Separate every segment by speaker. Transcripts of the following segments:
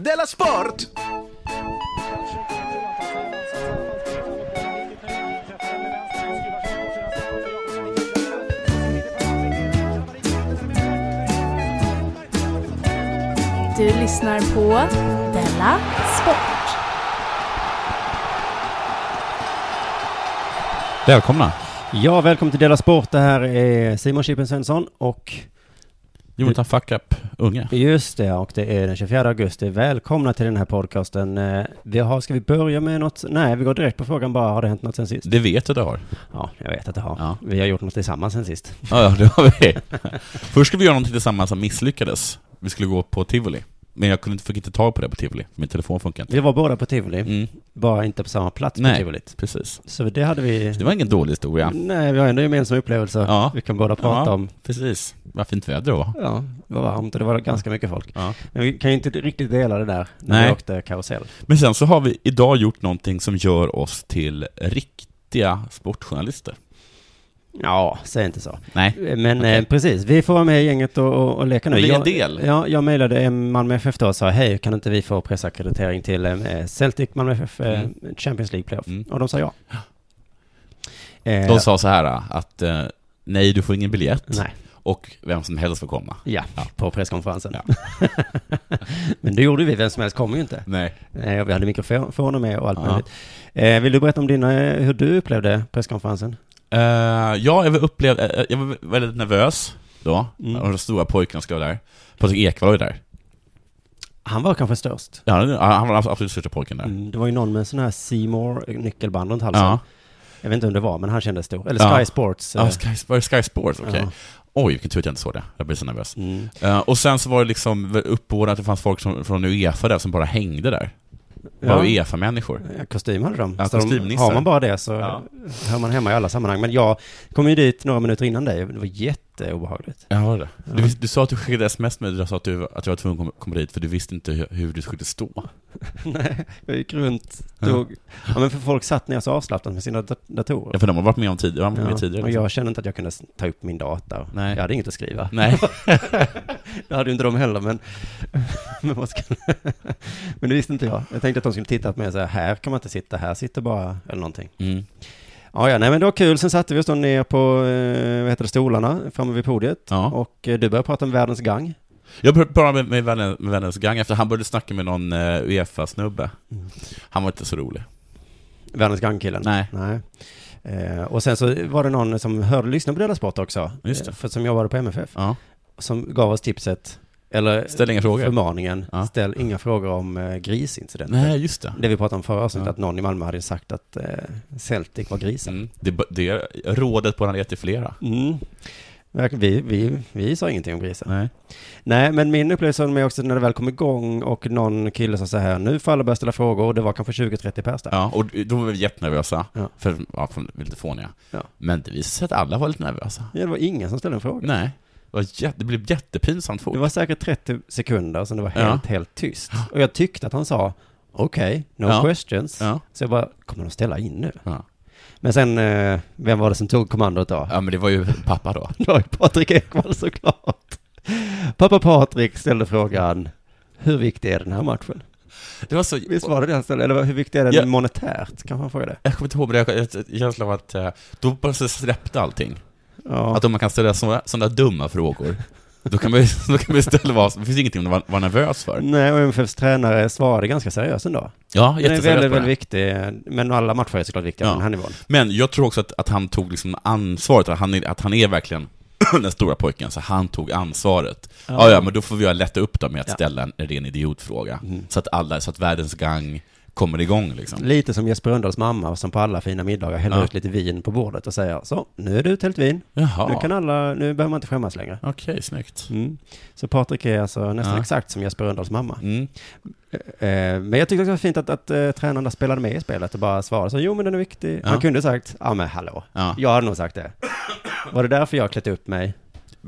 Speaker 1: Della Sport!
Speaker 2: Du lyssnar på Della Sport.
Speaker 3: Välkomna!
Speaker 4: Ja, välkommen till Dela Sport. Det här är Simon Chippen Svensson och
Speaker 3: Jonathan Fuck Up, unge.
Speaker 4: just det, och det är den 24 augusti. Välkomna till den här podcasten. Eh, Vi har, ska vi börja med något? Nej, vi går direkt på frågan bara. Har det hänt något sen sist?
Speaker 3: Det vet du det har.
Speaker 4: Ja, jag vet att det har.
Speaker 3: Ja.
Speaker 4: Vi har gjort något tillsammans sen sist.
Speaker 3: Ja, ja, det har vi. Först skulle vi göra någonting tillsammans som misslyckades. Vi skulle gå på Tivoli. Men jag kunde inte, fick inte tag på det på Tivoli. Min telefon funkar inte.
Speaker 4: Vi var båda på Tivoli,
Speaker 3: Mm,
Speaker 4: bara inte på samma plats på
Speaker 3: Nej.
Speaker 4: Tivolit.
Speaker 3: precis.
Speaker 4: Så det hade vi...
Speaker 3: Det var ingen dålig historia.
Speaker 4: Nej, vi har ändå gemensamma upplevelser.
Speaker 3: Ja.
Speaker 4: Vi kan båda prata
Speaker 3: Ja.
Speaker 4: om.
Speaker 3: Precis. Vad fint väder det var.
Speaker 4: Ja, det var varmt och det var ganska mycket folk.
Speaker 3: Ja.
Speaker 4: Men vi kan ju inte riktigt dela det där när vi
Speaker 3: Nej.
Speaker 4: åkte karusell.
Speaker 3: Men sen så har vi idag gjort någonting som gör oss till riktiga sportjournalister.
Speaker 4: Ja, säg inte så.
Speaker 3: Nej.
Speaker 4: Men
Speaker 3: Okej.
Speaker 4: eh, precis, vi får vara med i gänget och, och, och leka nu.
Speaker 3: Bli en
Speaker 4: Jag-
Speaker 3: del.
Speaker 4: Ja, jag mejlade eh, Malmö FF då och sa hej, kan inte vi få pressackreditering till eh, Celtic, Malmö FF, eh,
Speaker 3: Mm.
Speaker 4: Champions League playoff?
Speaker 3: Mm.
Speaker 4: Och de sa ja. Eh,
Speaker 3: De sa så här att eh, nej, du får ingen biljett.
Speaker 4: Nej,
Speaker 3: Och vem som helst får komma.
Speaker 4: ja, på presskonferensen.
Speaker 3: Ja.
Speaker 4: Men det gjorde vi, vem som helst kommer ju inte.
Speaker 3: Nej.
Speaker 4: Eh, och vi hade mikrofoner med och allt
Speaker 3: Ja.
Speaker 4: möjligt. Eh, vill du berätta om dina, eh, hur du upplevde presskonferensen?
Speaker 3: Eh, ja, jag var upplevde, eh, jag var väldigt nervös då.
Speaker 4: Mm.
Speaker 3: Och de stora pojkarna skulle vara där. Patrik Ekwall var ju där.
Speaker 4: Han var kanske störst.
Speaker 3: Ja, han- han var den absolut största pojken där. Alltså,
Speaker 4: Mm, det var ju någon med en sån här Seymour nyckelband runt halsen.
Speaker 3: Ja.
Speaker 4: Jag vet inte om det var, men han kändes stor. Eller Sky
Speaker 3: Ja.
Speaker 4: Sports. eh,
Speaker 3: Ah, Sky, var det Sky Sports, okej.
Speaker 4: Ja.
Speaker 3: Oj, vilken tur att jag inte såg det. Jag blev så nervös.
Speaker 4: Mm.
Speaker 3: Eh, och sen så var det liksom uppbådat att det fanns folk som, från Uefa där som bara hängde där. Bara
Speaker 4: Ja.
Speaker 3: Uefa-människor.
Speaker 4: Ja, Kostym hade de.
Speaker 3: Ja,
Speaker 4: Så de-
Speaker 3: kostymnissar.
Speaker 4: Har man bara det så
Speaker 3: Ja.
Speaker 4: hör man hemma i alla sammanhang. Men jag kom ju dit några minuter innan dig. Det var jätteobehagligt.
Speaker 3: Ja, var det du, du sa att du skickade sms med du sa att du, att du var tvungen att kom- komma dit för du visste inte hur, hur du skulle stå.
Speaker 4: Nej, jag gick runt, tog... Ja, men för folk satt ner så avslappnat med sina dat- datorer.
Speaker 3: Ja, för de har varit med om tid, de har varit med tidigare.
Speaker 4: och
Speaker 3: liksom.
Speaker 4: jag kände inte att jag kunde s- ta upp min data.
Speaker 3: Nej.
Speaker 4: Jag hade inget att skriva.
Speaker 3: Nej,
Speaker 4: Det hade ju inte de heller, men... men, vad ska... men det visste inte jag. Jag tänkte att de skulle titta på mig och säga, här kan man inte sitta, här sitter bara, eller någonting.
Speaker 3: mm.
Speaker 4: Ja, ja, nej men det var kul. Sen satte vi oss då ner på, eh, vad heter det, stolarna framme vid podiet.
Speaker 3: ja.
Speaker 4: Och eh, du började prata om världens gang.
Speaker 3: Jag pratade med, med, vännen- med vännens gang efter, han började snacka med någon eh, Uefa-snubbe. Han var inte så rolig.
Speaker 4: Världens gang-killen.
Speaker 3: Nej.
Speaker 4: Nej. Eh, och sen så var det någon som hörde lyssna på Della Sport också.
Speaker 3: Just det.
Speaker 4: Eh, För, som jobbade på MFF.
Speaker 3: Ja.
Speaker 4: Som gav oss tipset, eller
Speaker 3: Ställ inga frågor.
Speaker 4: förmaningen,
Speaker 3: Ja.
Speaker 4: ställ inga frågor om eh, grisincidenter.
Speaker 3: Nej, just det.
Speaker 4: Det vi pratade om förra avsnittet,
Speaker 3: Ja.
Speaker 4: att någon i Malmö hade sagt att eh, Celtic var grisen.
Speaker 3: Mm. Det, det rådet borde han gett till flera.
Speaker 4: Mm. Verkligen, Vi, vi, vi sa ingenting om grisen.
Speaker 3: Nej.
Speaker 4: Nej, men min upplevelse var med också när det väl kom igång och någon kille sa så här, nu får alla börja ställa frågor och det var kanske 20-30 pers där.
Speaker 3: Ja, och då var vi jättenervösa.
Speaker 4: Ja.
Speaker 3: För, ja, för lite fåniga.
Speaker 4: Ja.
Speaker 3: Men det visade sig att alla var lite nervösa.
Speaker 4: Ja, det var ingen som ställde en fråga.
Speaker 3: Nej. Det, var jä- det blev jättepinsamt fort.
Speaker 4: Det var säkert 30 sekunder som det var helt,
Speaker 3: Ja.
Speaker 4: helt tyst. Och jag tyckte att han sa, okej, no
Speaker 3: Ja.
Speaker 4: questions.
Speaker 3: Ja.
Speaker 4: Så jag bara, kommer de ställa in nu?
Speaker 3: Ja.
Speaker 4: Men sen, eh, vem var det som tog kommandot då?
Speaker 3: ja, men det var ju pappa då.
Speaker 4: Det var ju Patrik Ekwall såklart. Pappa Patrik ställde frågan, hur viktig är den här matchen?
Speaker 3: Det var så...
Speaker 4: Visst var det det han ställde? Eller hur viktig är den
Speaker 3: Ja.
Speaker 4: monetärt? Kan man fråga det?
Speaker 3: Jag kommer inte ihåg, men jag jag- jag- känslan av att eh, då bara så släppte allting.
Speaker 4: Ja.
Speaker 3: Att om man kan ställa sådana, sådana dumma frågor, då kan man ju då kan man ju ställa vad som... Det finns ingenting att vara, vara nervös för.
Speaker 4: Nej, och MFFs tränare svarade ganska seriöst ändå.
Speaker 3: Ja,
Speaker 4: Mm. Den är
Speaker 3: jätteseriöst på
Speaker 4: väldigt,
Speaker 3: det.
Speaker 4: väldigt viktig. Men alla matcher är såklart viktiga
Speaker 3: Ja.
Speaker 4: på den här nivån.
Speaker 3: Men jag tror också att, att han tog liksom ansvaret, att han är, att han är verkligen den stora pojken, så han tog ansvaret. Ja. ja, men då får vi väl lätta upp dem med att
Speaker 4: Ja.
Speaker 3: ställa en ren idiotfråga.
Speaker 4: Mm.
Speaker 3: Så att alla, så att världens gang kommer igång liksom.
Speaker 4: Lite som Jesper Rönndahls mamma som på alla fina middagar häller
Speaker 3: Ja.
Speaker 4: ut lite vin på bordet och säger så, nu är det uthällt vin. Nu,
Speaker 3: Jaha,
Speaker 4: kan alla, nu behöver man inte skämmas längre.
Speaker 3: okej, snyggt.
Speaker 4: Mm. Så Patrik är alltså nästan
Speaker 3: Ja.
Speaker 4: exakt som Jesper Rönndahls mamma.
Speaker 3: Mm.
Speaker 4: Eh, men jag tyckte också det var fint att, att eh, tränaren där spelade med i spelet och bara svarade så, jo men den är viktig.
Speaker 3: Ja.
Speaker 4: Han kunde sagt, ja men hallå,
Speaker 3: Ja.
Speaker 4: jag hade nog sagt det. Var det därför jag klätt upp mig?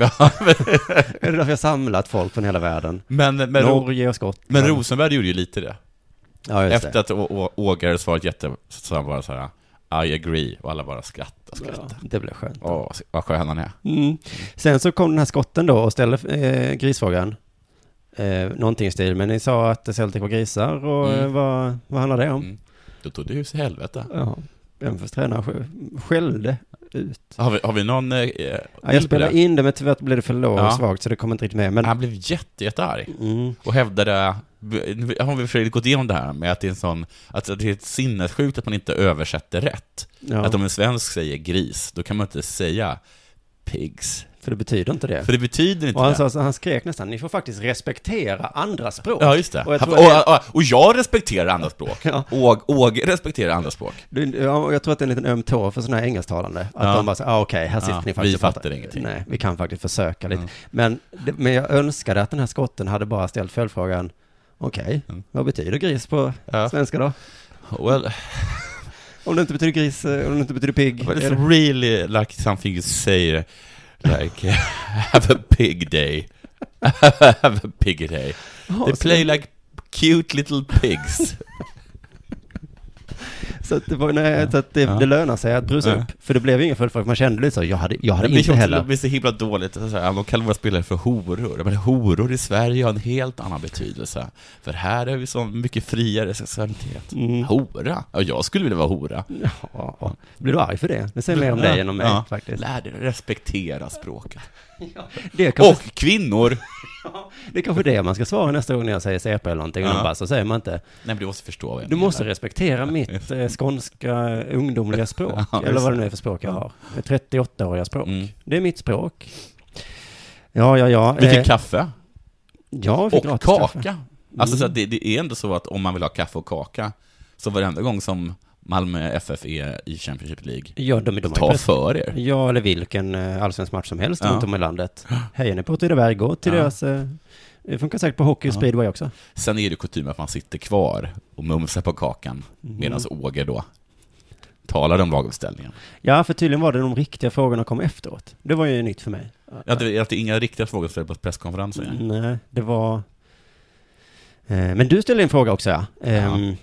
Speaker 4: Är det därför jag samlat folk från hela världen?
Speaker 3: men, men, Ro-
Speaker 4: Norge och Skottland.
Speaker 3: men Rosenberg gjorde ju lite det.
Speaker 4: ja, just det.
Speaker 3: Efter att Å- Å- Åge hade svarat jätte, så han bara så här, I agree, och alla bara skrattade,
Speaker 4: Ja,
Speaker 3: skrattade.
Speaker 4: det blev skönt.
Speaker 3: Åh, vad skön han är.
Speaker 4: Mm. Sen så kom den här skotten då och ställde eh, grisfrågan. eh, någonting i stil, men ni sa att Celtic var grisar och
Speaker 3: Mm.
Speaker 4: eh, vad, vad handlar det om?
Speaker 3: Mm. Då tog det ju sig helvete.
Speaker 4: Ja, Benfors tränare sj- skällde ut.
Speaker 3: Har vi, har vi någon... Eh, bild
Speaker 4: Ja, jag
Speaker 3: på
Speaker 4: spelade
Speaker 3: det?
Speaker 4: in det, men tyvärr blev det för lågt
Speaker 3: Ja. Ah.
Speaker 4: svagt så det kommer inte riktigt med. Men,
Speaker 3: Han blev jätte, jättearg
Speaker 4: mm,
Speaker 3: och hävdade, nu har vi Fredrik gått igenom det här med att det är en sån, att det är ett sinnessjukt att man inte översätter rätt.
Speaker 4: ja,
Speaker 3: Att om en svensk säger gris, då kan man inte säga pigs.
Speaker 4: för det betyder inte det.
Speaker 3: För det betyder inte
Speaker 4: Och han,
Speaker 3: det.
Speaker 4: sa, så han skrek nästan, ni får faktiskt respektera andra språk.
Speaker 3: Ja, just det.
Speaker 4: Och jag
Speaker 3: Han-
Speaker 4: tror
Speaker 3: Och
Speaker 4: att-
Speaker 3: och- och jag respekterar andra språk.
Speaker 4: Ja.
Speaker 3: Åge Åge respekterar andra språk.
Speaker 4: Du- ja, och jag tror att det är en liten öm tå för sådana här engelsktalande. Att
Speaker 3: Ja.
Speaker 4: de bara säger, ah, okej, här sitter
Speaker 3: Ja,
Speaker 4: ni faktiskt
Speaker 3: vi
Speaker 4: och pratar."
Speaker 3: fattar ingenting.
Speaker 4: Nej, vi kan faktiskt försöka lite. Men, det- men jag önskade att den här skotten hade bara ställt följdfrågan, okej,
Speaker 3: Mm.
Speaker 4: vad betyder gris på
Speaker 3: Ja.
Speaker 4: svenska då?
Speaker 3: Well,
Speaker 4: Om det inte betyder gris, eh, om det inte betyder pigg.
Speaker 3: but
Speaker 4: är det-
Speaker 3: it's really like something you say, like, have a pig day. have a pig day.
Speaker 4: Ja,
Speaker 3: They
Speaker 4: så-
Speaker 3: play like cute little pigs.
Speaker 4: Så att det, var, nej,
Speaker 3: Ja.
Speaker 4: så att det,
Speaker 3: Ja.
Speaker 4: det lönar sig att brusa
Speaker 3: Ja.
Speaker 4: upp. För det blev ju ingen följdfråga, man kände lite så, jag hade, jag hade
Speaker 3: Men det
Speaker 4: inte
Speaker 3: känns till
Speaker 4: heller.
Speaker 3: och med så himla dåligt, så här, de kallar våra spelare för horor. Men horor i Sverige har en helt annan betydelse. För här är vi så mycket friare sexualitet.
Speaker 4: Mm.
Speaker 3: Hora? Ja, jag skulle vilja vara hora.
Speaker 4: Ja, blir du arg för det? Det säger mer om
Speaker 3: Ja.
Speaker 4: dig än om mig
Speaker 3: Ja.
Speaker 4: faktiskt.
Speaker 3: Lär dig respektera språket.
Speaker 4: Det är, kanske,
Speaker 3: Och kvinnor!
Speaker 4: det är kanske det man ska svara nästa gång när jag säger CP eller någonting.
Speaker 3: Ja.
Speaker 4: Och de bara, så säger man inte.
Speaker 3: Nej, men du måste förstå vad jag
Speaker 4: Du
Speaker 3: menar.
Speaker 4: måste respektera mitt eh, skånska ungdomliga språk.
Speaker 3: Ja,
Speaker 4: eller
Speaker 3: just
Speaker 4: vad det nu är för språk jag har. 38-åriga språk.
Speaker 3: Mm.
Speaker 4: Det är mitt språk. Ja, ja, ja.
Speaker 3: Vi
Speaker 4: Eh,
Speaker 3: fick kaffe.
Speaker 4: ja, vi fick
Speaker 3: Och
Speaker 4: gratis
Speaker 3: kaka.
Speaker 4: kaffe.
Speaker 3: Alltså, så att det, det är ändå så att om man vill ha kaffe och kaka, så varenda gång som Malmö FF är i Championship League,
Speaker 4: Ja, de, de har ju
Speaker 3: ta
Speaker 4: press-
Speaker 3: för er.
Speaker 4: Ja, eller vilken eh, allsvensk match som helst
Speaker 3: Ja.
Speaker 4: runt om i landet. Hejar ni på Åtvidaberg, gå till
Speaker 3: Ja.
Speaker 4: deras... eh, Det funkar säkert på hockey och
Speaker 3: Ja.
Speaker 4: speedway också.
Speaker 3: Sen är det kutym att man sitter kvar och mumsar på kakan,
Speaker 4: Mm.
Speaker 3: medan Åge då talar om laguppställningen.
Speaker 4: Ja, för tydligen var det de riktiga frågorna kom efteråt. Det var ju nytt för mig.
Speaker 3: Ja, det är alltid inga riktiga frågor ställda på presskonferenser.
Speaker 4: Nej, det var... Eh, Men du ställde en fråga också, ja. Ehm,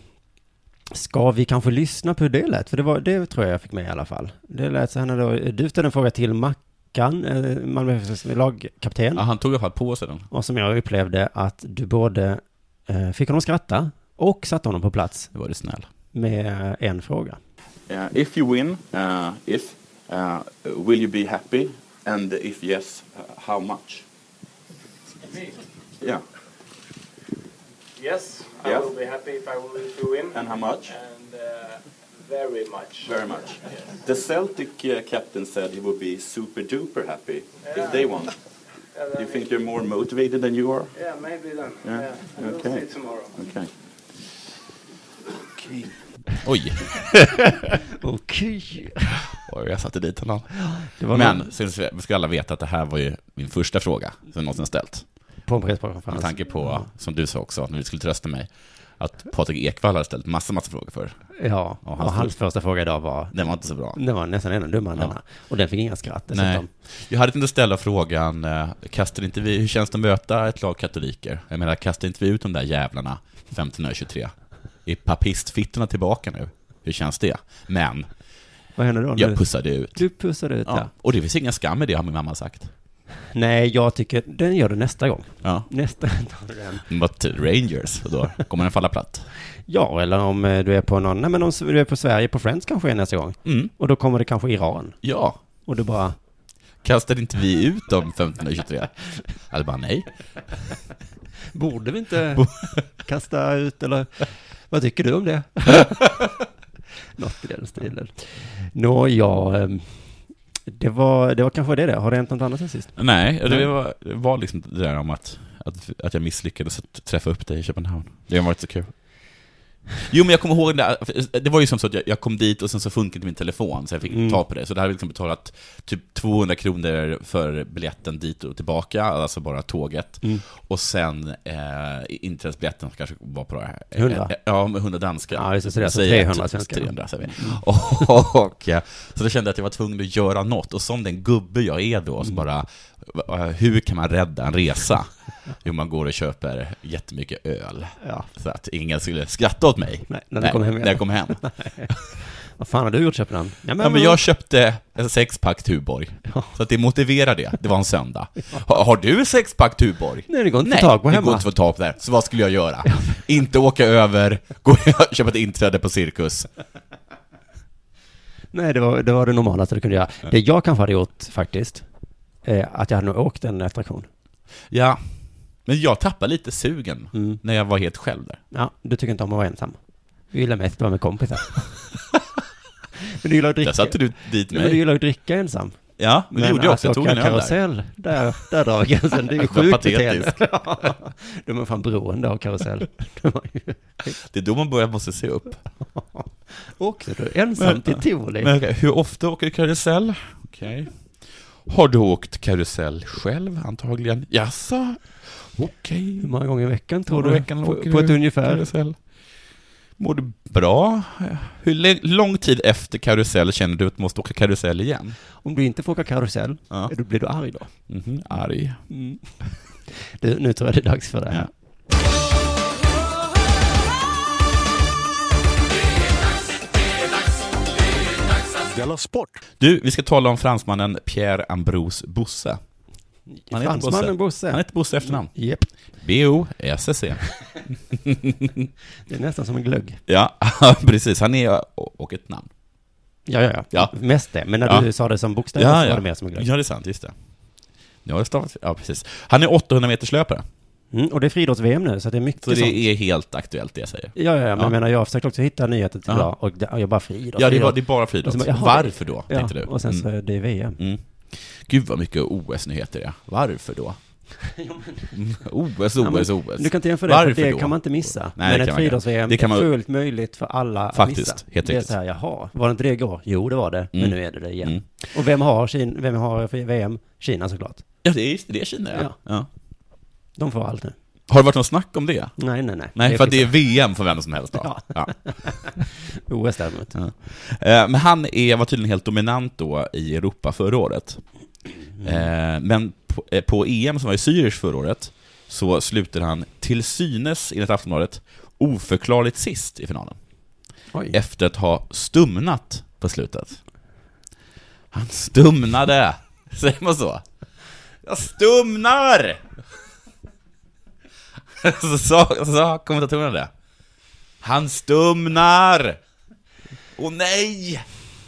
Speaker 4: Ska vi kanske lyssna på hur det lät? För det, var, det tror jag jag fick med i alla fall. Det lät så här när då, du ställde en fråga till Mackan, eh, Malmö FFs lagkapten.
Speaker 3: Ja, han tog i alla fall på sig den.
Speaker 4: Och som jag upplevde att du både eh, fick honom att skratta och satte honom på plats
Speaker 3: Det var du snäll.
Speaker 4: med en fråga.
Speaker 1: Uh, if you win, uh, if uh, will you be happy? And if yes, uh, how much?
Speaker 5: Me?
Speaker 1: Yeah.
Speaker 5: Yes, I
Speaker 1: Yeah.
Speaker 5: will be happy if I will to win.
Speaker 1: And how much?
Speaker 5: And uh, very much.
Speaker 1: Very much. The Celtic uh, captain said he would be super duper happy if they won.
Speaker 5: Yeah,
Speaker 1: You
Speaker 5: then
Speaker 1: think you're more motivated than you are?
Speaker 5: it- Yeah, maybe then.
Speaker 1: Yeah.
Speaker 5: Yeah. We'll
Speaker 1: Okay.
Speaker 5: see tomorrow.
Speaker 1: Okay.
Speaker 3: Oj,
Speaker 4: Okej.
Speaker 3: Oj jag satte dit honom.
Speaker 4: Det var Men.
Speaker 3: Men sen ska- vi ska alla veta att det här var ju min första fråga som jag någonsin ställt.
Speaker 4: på en
Speaker 3: Med
Speaker 4: presskonferens.
Speaker 3: tanke på, som du sa också, när du skulle trösta mig, att Patrik Ekwall hade ställt massa, massa frågor för.
Speaker 4: Ja,
Speaker 3: Ja,
Speaker 4: och
Speaker 3: han-
Speaker 4: hans första fråga idag var,
Speaker 3: Den var inte så bra.
Speaker 4: den var nästan ännu dummare än
Speaker 3: Ja.
Speaker 4: denna. Och den fick inga skratt
Speaker 3: Nej.
Speaker 4: dessutom.
Speaker 3: Jag hade inte ställa frågan, eh, kastar inte vi, hur känns det att möta ett lag katoliker? Jag menar, kastar inte vi ut de där jävlarna 1523? Är papistfittorna tillbaka nu? Hur känns det? Men,
Speaker 4: Vad hände då?
Speaker 3: jag
Speaker 4: när
Speaker 3: pussade ut.
Speaker 4: du pussade ut, ja.
Speaker 3: Ja. Och det finns ingen skam i det, har min mamma sagt.
Speaker 4: Nej, jag tycker, den gör du nästa gång.
Speaker 3: Ja.
Speaker 4: Nästa gång tar du den.
Speaker 3: mot Rangers, och då kommer den falla platt.
Speaker 4: Ja, eller om eh, du är på någon, nej men om du är på Sverige, på Friends kanske är nästa gång.
Speaker 3: Mm.
Speaker 4: Och då kommer det kanske Iran.
Speaker 3: Ja,
Speaker 4: Och du bara,
Speaker 3: kastade inte vi ut dem 1523? Eller bara nej.
Speaker 4: Borde vi inte kasta ut eller vad tycker du om det? Något i den stilen. Nå, ja, ehm, det var, det var kanske det det. Har det hänt något annat sen sist?
Speaker 3: Nej, det var, det var liksom det där om att, att, att jag misslyckades att träffa upp dig i Köpenhamn. Det har varit så kul. Jo men jag kommer ihåg det där, det var ju som så att jag, jag kom dit och sen så funkade inte min telefon så jag fick
Speaker 4: Mm.
Speaker 3: ta på det. Så det hade liksom betalat typ 200 kronor för biljetten dit och tillbaka, alltså bara tåget.
Speaker 4: Mm.
Speaker 3: Och sen eh, inträdesbiljetten som kanske var på det här.
Speaker 4: 100?
Speaker 3: Eh, Ja, med 100 danska.
Speaker 4: Ja, just det, så det är alltså
Speaker 3: Säger
Speaker 4: 300 svenskar.
Speaker 3: 300 säger vi.
Speaker 4: Mm. Mm.
Speaker 3: Och, och, eh, så då kände jag att jag var tvungen att göra något. Och som den gubbe jag är då, så bara va- hur kan man rädda en resa? Jo, man går och köper jättemycket öl.
Speaker 4: Ja.
Speaker 3: Så att ingen skulle skratta åt mig.
Speaker 4: Nej, när du kom hem igen.
Speaker 3: När jag kom hem.
Speaker 4: Vad fan har du gjort Köpenhamn?
Speaker 3: Ja, men jag köpte en sexpack Tuborg. Så att det motiverar det. Det var en söndag. Har, har du en sexpack Tuborg?
Speaker 4: Nej, det går inte att få tag på
Speaker 3: det
Speaker 4: hemma.
Speaker 3: går inte att få tag på där. Så vad skulle jag göra? Inte åka över, gå och köpa ett inträde på cirkus.
Speaker 4: Nej, det var, det var det normalaste du kunde göra. Det jag kanske hade gjort faktiskt, eh, att jag hade nog åkt en attraktion.
Speaker 3: Ja, men jag tappade lite sugen
Speaker 4: Mm.
Speaker 3: när jag var helt själv där.
Speaker 4: Ja, du tycker inte om att vara ensam. Du gillar mest att vara med kompisar. men du gillar att dricka.
Speaker 3: Där satte du dit
Speaker 4: Nej, men du
Speaker 3: mig.
Speaker 4: gillar att dricka ensam.
Speaker 3: Ja, men det gjorde jag
Speaker 4: alltså,
Speaker 3: också. Jag tog en öl där.
Speaker 4: karusell, där, där drar gränsen. Det är ju
Speaker 3: Vad
Speaker 4: sjukt beteende.
Speaker 3: patetiskt.
Speaker 4: De är fan beroende av karusell.
Speaker 3: Det är då man börjar måste se upp.
Speaker 4: Också du, ensam
Speaker 3: Men-
Speaker 4: till Tivoli.
Speaker 3: Men okej, hur ofta åker du karusell? Okej. Har du åkt karusell själv, antagligen? Jaså? Okej.
Speaker 4: Hur många gånger i veckan tror
Speaker 3: Några
Speaker 4: du?
Speaker 3: veckan åker
Speaker 4: på, på ett
Speaker 3: du
Speaker 4: ungefär.
Speaker 3: Karusell. Mår du bra? Hur lä- lång tid efter karusell känner du att du måste åka karusell igen?
Speaker 4: Om du inte får åka karusell,
Speaker 3: Ja.
Speaker 4: då blir du arg då.
Speaker 3: Mhm, arg.
Speaker 4: Du, nu tror jag det är dags för det här.
Speaker 6: Della Sport!
Speaker 3: Du, vi ska tala om fransmannen Pierre Ambrose Bosse. Han heter
Speaker 4: Fransmannen Bosse.
Speaker 3: Han heter Bosse i efternamn.
Speaker 4: Japp.
Speaker 3: B-O-S-S-E.
Speaker 4: Det är nästan som en glögg.
Speaker 3: Ja, precis. Han är och ett namn.
Speaker 4: Ja, ja, ja.
Speaker 3: Ja.
Speaker 4: Mest det. Men när
Speaker 3: Ja.
Speaker 4: du sa det som bokstäver så var det mer som en glögg.
Speaker 3: Ja, det är sant. Just det. Nu har jag stavat Ja, precis. Han är 800 meterslöpare.
Speaker 4: Mm, och det är friidrotts-VM nu, så det är mycket
Speaker 3: Så det
Speaker 4: sånt.
Speaker 3: är helt aktuellt det jag säger.
Speaker 4: Ja, ja, ja, men
Speaker 3: Ja.
Speaker 4: jag menar, jag har försökt också hitta nyheter till
Speaker 3: Ja.
Speaker 4: idag och det, Alltså, jag bara friidrott.
Speaker 3: Ja, det är bara,
Speaker 4: friidrott.
Speaker 3: det är bara
Speaker 4: Och
Speaker 3: friidrott.
Speaker 4: så bara, jaha,
Speaker 3: Varför då?
Speaker 4: ja,
Speaker 3: Tänkte du.
Speaker 4: och sen så är det VM.
Speaker 3: Mm. Gud vad mycket OS-nyheter det är. Varför då? Mm, OS,
Speaker 4: Ja, men
Speaker 3: OS, OS.
Speaker 4: Du kan inte jämföra det,
Speaker 3: Varför
Speaker 4: för det
Speaker 3: då?
Speaker 4: kan man inte missa.
Speaker 3: Nej, det
Speaker 4: men
Speaker 3: kan
Speaker 4: ett
Speaker 3: man inte.
Speaker 4: friidrotts-VM
Speaker 3: Det kan
Speaker 4: är
Speaker 3: man-
Speaker 4: fullt möjligt för alla
Speaker 3: Faktiskt,
Speaker 4: att missa.
Speaker 3: helt
Speaker 4: det är
Speaker 3: riktigt.
Speaker 4: så här, jaha, var det inte det igår? Jo, det var det, men
Speaker 3: Mm.
Speaker 4: nu är det det igen.
Speaker 3: Mm.
Speaker 4: Och vem har, Kina, vem har för VM? Kina såklart.
Speaker 3: Ja, det är, det är Kina, ja.
Speaker 4: Ja.
Speaker 3: Ja.
Speaker 4: De får allt nu.
Speaker 3: Har det varit någon snack om det?
Speaker 4: Nej, nej, nej.
Speaker 3: Nej, för att det är VM för vem som helst. Då.
Speaker 4: Ja.
Speaker 3: Ja.
Speaker 4: OS däremot.
Speaker 3: Eh, Men han är, var tydligen helt dominant då i Europa förra året. Eh, Men på, eh, på EM som var i Zürich förra året så slutade han till synes, enligt Aftonbladet, oförklarligt sist i finalen.
Speaker 4: Oj.
Speaker 3: Efter att ha stumnat på slutet. Han stumnade! Säger man så? Jag stumnar! Så sa, så sa kommentatorerna det. Han stumnar! Åh nej!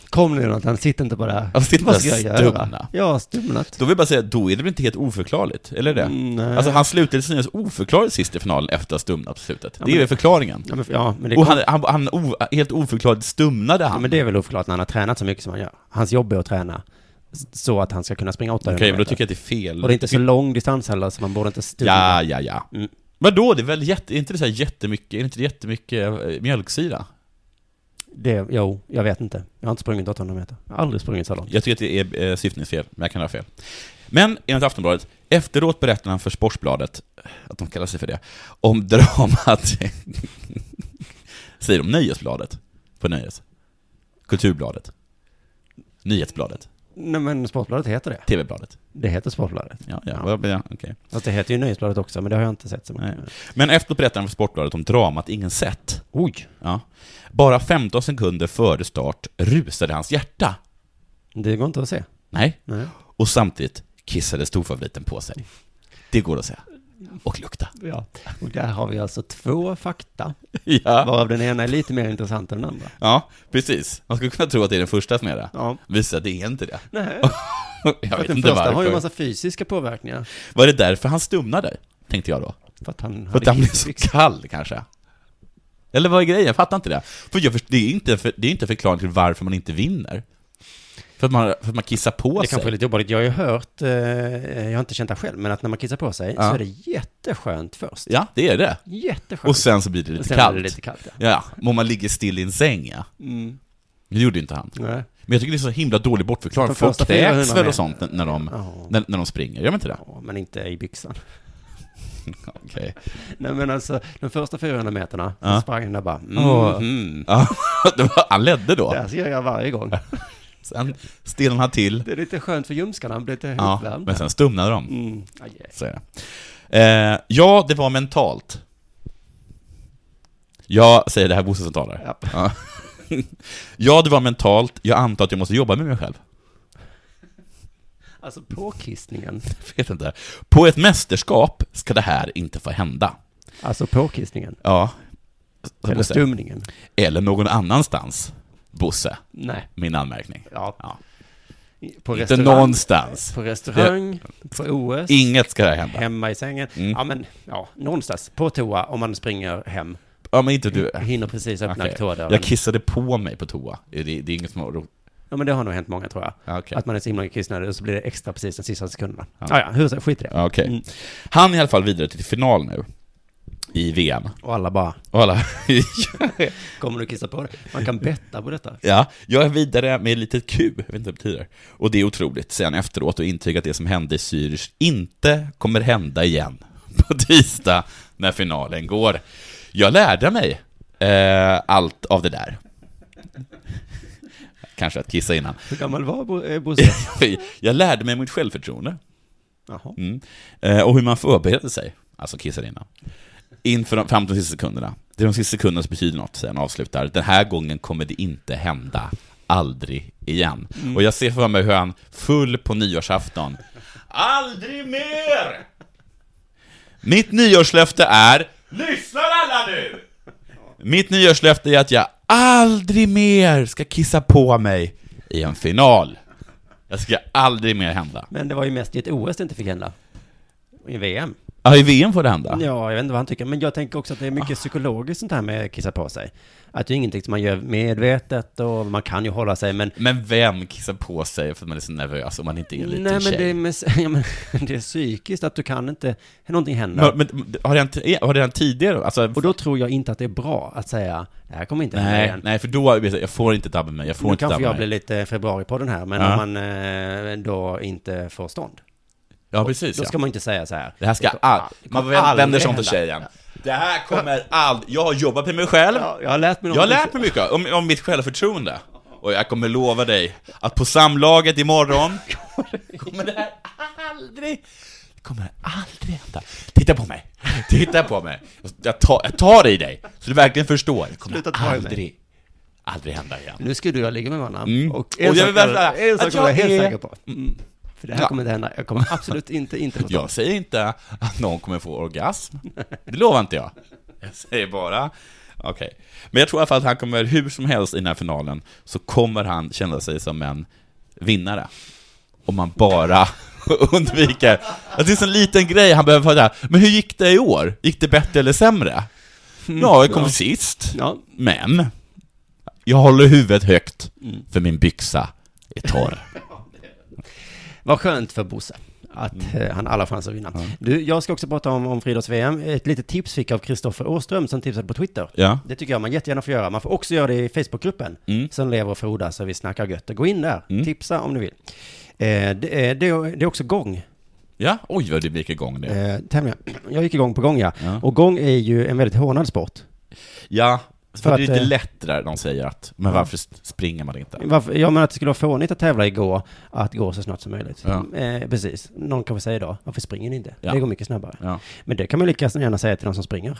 Speaker 4: Kom nu Jonathan, sitt inte på det här.
Speaker 3: Alltså, sitt
Speaker 4: Vad
Speaker 3: bara
Speaker 4: ska jag göra?
Speaker 3: stumna.
Speaker 4: Jag har stumnat.
Speaker 3: Då vill jag bara säga, då är det väl inte helt oförklarligt? Eller är det?
Speaker 4: Mm, nej.
Speaker 3: Alltså han slutade sin oförklarligt sist i finalen efter att ha stumnat på slutet. det är
Speaker 4: men-
Speaker 3: väl förklaringen?
Speaker 4: Ja, men, ja, men, det
Speaker 3: Och
Speaker 4: kom,
Speaker 3: han, han, han o, helt oförklarligt stumnade han.
Speaker 4: ja, men det är väl oförklarligt när han har tränat så mycket som han gör. Hans jobb är att träna s- så att han ska kunna springa 800
Speaker 3: Okej, men då tycker jag att det är fel.
Speaker 4: Och det är inte så lång distans heller, så man borde inte stumna.
Speaker 3: Ja, ja, ja.
Speaker 4: Mm.
Speaker 3: Men då, det är väl jätte, är inte det så här jättemycket, är det inte jättemycket eh, mjölksyra?
Speaker 4: Det, jo, jag vet inte. Jag har inte sprungit 800 meter. Jag har aldrig sprungit så långt.
Speaker 3: Jag tycker att det är eh, syftningsfel, men jag kan ha fel. Men enligt Aftonbladet, efteråt berättar han för Sportbladet, att de kallar sig för det, om dramat, säger de Nöjesbladet? På Nöjes? Kulturbladet? Nyhetsbladet?
Speaker 4: Nej, men Sportbladet heter det.
Speaker 3: TV-bladet?
Speaker 4: Det heter Sportbladet.
Speaker 3: Ja, ja, ja. ja okej.
Speaker 4: Fast det heter ju Nöjesbladet också, men det har jag inte sett så
Speaker 3: Nej.
Speaker 4: mycket.
Speaker 3: Men efteråt berättar han för Sportbladet om dramat ingen sett.
Speaker 4: Oj!
Speaker 3: Ja. Bara 15 sekunder före start rusade hans hjärta.
Speaker 4: Det går inte att se.
Speaker 3: Nej.
Speaker 4: Nej.
Speaker 3: Och samtidigt kissade storfavoriten på sig. Det går att säga. Och lukta.
Speaker 4: Ja. Och där har vi alltså två fakta,
Speaker 3: Ja.
Speaker 4: varav den ena är lite mer intressant än den andra.
Speaker 3: ja, precis. Man skulle kunna tro att det är den första som är det.
Speaker 4: Ja.
Speaker 3: Visar att det är inte det.
Speaker 4: Nej.
Speaker 3: Jag
Speaker 4: För att
Speaker 3: vet
Speaker 4: den
Speaker 3: inte
Speaker 4: första har ju
Speaker 3: varför.
Speaker 4: en massa fysiska påverkningar.
Speaker 3: Var det därför han stumnade? Tänkte jag då.
Speaker 4: För att han
Speaker 3: För att
Speaker 4: hade
Speaker 3: han blev så
Speaker 4: liksom-
Speaker 3: kall kanske. Eller vad är grejen? Jag fattar inte det. För jag först- det är inte för, det är inte förklaring till varför man inte vinner. För att man, för att man kissar på sig.
Speaker 4: Det kanske är lite jobbigt. Jag har ju hört, eh, jag har inte känt det själv, men att när man kissar på sig så
Speaker 3: Ja.
Speaker 4: är det jätteskönt först.
Speaker 3: Ja, det är det.
Speaker 4: Jätteskönt.
Speaker 3: Och sen så blir det lite
Speaker 4: Sen blir
Speaker 3: kallt.
Speaker 4: det lite kallt, Mm. ja.
Speaker 3: Ja, men om man ligger still i en säng, ja. Det gjorde ju inte han.
Speaker 4: Nej.
Speaker 3: Men jag tycker det är så himla dålig bortförklaring.
Speaker 4: De
Speaker 3: Folk
Speaker 4: första 400
Speaker 3: kräks väl
Speaker 4: meter.
Speaker 3: och sånt när- när de,
Speaker 4: Ja.
Speaker 3: när, när de springer? Gör de inte det?
Speaker 4: Ja, men inte i byxan.
Speaker 3: Okej.
Speaker 4: Nej men alltså, de första 400 meterna så
Speaker 3: Ja.
Speaker 4: sprang han där bara, mm,
Speaker 3: Åh.
Speaker 4: mm.
Speaker 3: Ja, det var- han ledde
Speaker 4: Det
Speaker 3: då.
Speaker 4: här ska jag göra varje gång.
Speaker 3: Sen stelnade han till.
Speaker 4: Det är lite skönt för ljumskarna, han blir lite
Speaker 3: Ja,
Speaker 4: uppvärmd.
Speaker 3: men sen stumnade de.
Speaker 4: Mm. Aj, aj.
Speaker 3: Så är det. Eh, ja, det var mentalt. Jag säger det här Bosse som talar.
Speaker 4: Ja.
Speaker 3: Ja. ja, det var mentalt. Jag antar att jag måste jobba med mig själv.
Speaker 4: Alltså påkissningen.
Speaker 3: Jag vet inte. På ett mästerskap ska det här inte få hända.
Speaker 4: Alltså påkissningen.
Speaker 3: Ja. Så
Speaker 4: Eller
Speaker 3: Bosse.
Speaker 4: stumningen.
Speaker 3: Eller någon annanstans, Bosse.
Speaker 4: Nej.
Speaker 3: Min anmärkning.
Speaker 4: Ja.
Speaker 3: Ja.
Speaker 4: På
Speaker 3: Inte
Speaker 4: restaurang.
Speaker 3: någonstans.
Speaker 4: På restaurang, på OS,
Speaker 3: Inget ska det här hända.
Speaker 4: hemma i sängen.
Speaker 3: Mm.
Speaker 4: Ja, men ja, någonstans. På toa om man springer hem.
Speaker 3: Ja, men inte du.
Speaker 4: Hinner precis öppna
Speaker 3: Okej.
Speaker 4: toadörren.
Speaker 3: Jag kissade på mig på toa. Det, det är inget som har ro-
Speaker 4: Ja, men det har nog hänt många tror jag.
Speaker 3: Ja, okej.
Speaker 4: Att man är så himla kissnödig och så blir det extra precis de sista sekunderna.
Speaker 3: Ja.
Speaker 4: Ja, ja, hur så, skit i det.
Speaker 3: Ja, Okej.
Speaker 4: Mm.
Speaker 3: Han är i alla fall vidare till final nu. I VM.
Speaker 4: Och alla bara,
Speaker 3: Och alla...
Speaker 4: kommer du kissa på det? Man kan betta på detta.
Speaker 3: ja, jag är vidare med ett litet Q, jag vet inte vad det betyder. Och det är otroligt, säger han efteråt och intygar att det som hände i Zürich inte kommer hända igen på tisdag när finalen går. Jag lärde mig eh, allt av det där. Kanske att kissa innan.
Speaker 4: Hur gammal var Bo- eh, Bosse?
Speaker 3: jag lärde mig mitt självförtroende.
Speaker 4: Jaha.
Speaker 3: Mm. Eh, och hur man förbereder sig, alltså kissar innan, inför de, fram till de sista sekunderna. Det är de sista sekunderna som betyder något, sen avslutar. Den här gången kommer det inte hända, aldrig igen. Och jag ser för mig hur han, full på nyårsafton, aldrig mer! Mitt nyårslöfte är, lyssnar alla nu! Mitt nyårslöfte är att jag aldrig mer ska kissa på mig i en final. Jag ska aldrig mer hända.
Speaker 4: Men det var ju mest i ett OS det inte fick hända. Och I VM.
Speaker 3: Ja, i VM får det hända.
Speaker 4: Ja, jag vet inte vad han tycker, men jag tänker också att det är
Speaker 3: Ah.
Speaker 4: mycket psykologiskt sånt här med att kissa på sig. Att det är ingenting som man gör medvetet och man kan ju hålla sig, men...
Speaker 3: Men vem kissar på sig för att man är så nervös om man inte är en liten
Speaker 4: Nej, men
Speaker 3: tjej?
Speaker 4: det, är med, ja, men det är psykiskt att du kan inte, någonting händer.
Speaker 3: Men, men har det hänt, eh, har det hänt tidigare? Alltså,
Speaker 4: och då tror jag inte att det är bra att säga, det här kommer inte hända
Speaker 3: nej,
Speaker 4: igen.
Speaker 3: nej, för då, vet jag, jag får inte dabba mig, jag får
Speaker 4: Nu
Speaker 3: inte dabba
Speaker 4: kanske jag
Speaker 3: mig.
Speaker 4: blir lite februari på den här, men
Speaker 3: Ja.
Speaker 4: om man eh, då inte får stånd,
Speaker 3: Ja, precis
Speaker 4: då ska
Speaker 3: ja.
Speaker 4: man inte säga så här.
Speaker 3: Det här ska all... Man
Speaker 4: kommer
Speaker 3: vänder sig om
Speaker 4: aldrig
Speaker 3: till tjejen. Det här kommer aldrig... Jag har jobbat med mig själv,
Speaker 4: Ja, jag har lärt mig
Speaker 3: jag har
Speaker 4: någonting-
Speaker 3: lärt mig mycket om, om mitt självförtroende. Och jag kommer lova dig att på samlaget imorgon kommer det här aldrig... Det kommer aldrig hända. Titta på mig. Titta på mig. Jag tar, jag tar i dig, så du verkligen förstår. Det kommer
Speaker 4: Sluta ta i mig.
Speaker 3: aldrig, aldrig hända igen.
Speaker 4: Nu skulle jag ligga med varandra.
Speaker 3: Mm.
Speaker 4: Och,
Speaker 3: Och jag
Speaker 4: en
Speaker 3: vill
Speaker 4: sak
Speaker 3: verkligen
Speaker 4: är-
Speaker 3: säga
Speaker 4: en sak
Speaker 3: att
Speaker 4: jag är
Speaker 3: jag
Speaker 4: helt
Speaker 3: är-
Speaker 4: säker på. För det här
Speaker 3: Ja.
Speaker 4: kommer inte hända. Jag kommer absolut inte, inte få
Speaker 3: Jag säger inte att någon kommer få orgasm. Det lovar inte jag. Jag säger bara, okej. Men jag tror i alla fall att han kommer, hur som helst i den här finalen, så kommer han känna sig som en vinnare. Om man bara undviker. Alltså, det är en sån liten grej han behöver få där. Men hur gick det i år? Gick det bättre eller sämre? Ja, jag kom sist.
Speaker 4: Ja,
Speaker 3: Men, jag håller huvudet högt, för min byxa är torr.
Speaker 4: vad skönt för Bosse. Att eh, han har alla chanser att vinna. Du, jag ska också prata om, om friidrotts-VM. Ett litet tips fick jag av Kristoffer Åström som tipsade på Twitter.
Speaker 3: Ja.
Speaker 4: Det tycker jag man jättegärna får göra. Man får också göra det i Facebookgruppen.
Speaker 3: Mm.
Speaker 4: Som lever och frodas så vi snackar gött. Och gå in där.
Speaker 3: Mm.
Speaker 4: Tipsa om ni vill. Eh, det, är- det, är- det är också gång.
Speaker 3: Ja, oj vad det gick igång det.
Speaker 4: Eh, tävlingar. Jag gick igång på gång ja.
Speaker 3: Ja.
Speaker 4: Och gång är ju en väldigt hånad sport.
Speaker 3: Ja, för,
Speaker 4: För
Speaker 3: det är
Speaker 4: att,
Speaker 3: lite
Speaker 4: eh,
Speaker 3: lätt det där de säger att, men varför s- springer man inte?
Speaker 4: Varför, jag menar att det skulle vara fånigt att tävla igår, att gå så snabbt som möjligt.
Speaker 3: Ja.
Speaker 4: Eh, precis. Någon kanske säger då, varför springer ni inte?
Speaker 3: Ja.
Speaker 4: Det går mycket snabbare.
Speaker 3: Ja,
Speaker 4: Men det kan man lika gärna säga till de som springer.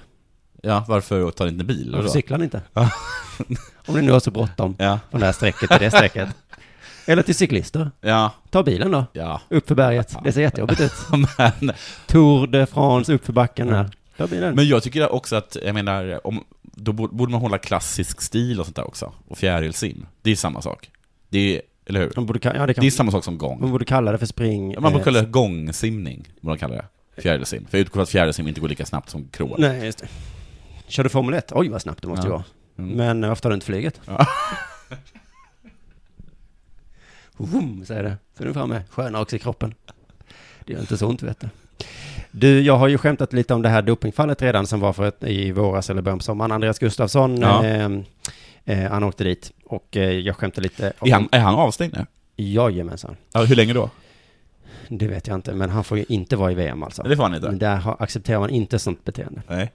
Speaker 3: ja varför tar ni inte bil?
Speaker 4: Varför
Speaker 3: då?
Speaker 4: cyklar ni inte?
Speaker 3: Ja.
Speaker 4: Om ni nu har så bråttom
Speaker 3: Ja,
Speaker 4: från det här strecket till det strecket. Eller till cyklister.
Speaker 3: ja,
Speaker 4: Ta bilen då,
Speaker 3: ja.
Speaker 4: upp för berget. Det ser jättejobbigt ut.
Speaker 3: Men,
Speaker 4: Tour de France, upp för backen där. Ta bilen.
Speaker 3: men jag tycker också att, jag menar, om, då borde borde man hålla klassisk stil och sånt där också. Och fjärilsim. Det är ju samma sak. Det är, eller hur?
Speaker 4: de borde, ka- ja, det kan,
Speaker 3: Det är samma sak som gång.
Speaker 4: de borde kalla det för spring.
Speaker 3: Man borde
Speaker 4: eh,
Speaker 3: kalla det gångsimning, vad de kallar det. Fjärilsim. För jag utgår från att fjärilsim inte går lika snabbt som crawl.
Speaker 4: Nej, just det. Kör du Formel 1? Oj, vad snabbt det måste
Speaker 3: Ja.
Speaker 4: vara.
Speaker 3: Mm.
Speaker 4: Men eh, varför tar du inte flyget?
Speaker 3: Ja.
Speaker 4: Vroom, säger det. Så är du framme. Sköna också i kroppen. Det gör inte så ont, vet du. Du, jag har ju skämtat lite om det här dopingfallet redan som var för ett, i våras eller början på sommaren. Andreas Gustafsson,
Speaker 3: Ja.
Speaker 4: eh, eh, han åkte dit och eh, jag skämtade lite om...
Speaker 3: Är han, är han avstängd nu?
Speaker 4: Jajamensan.
Speaker 3: Ja, hur länge då?
Speaker 4: Det vet jag inte, men han får ju inte vara i VM alltså.
Speaker 3: Det får han inte.
Speaker 4: Men där har, accepterar man inte sånt beteende.
Speaker 3: Nej.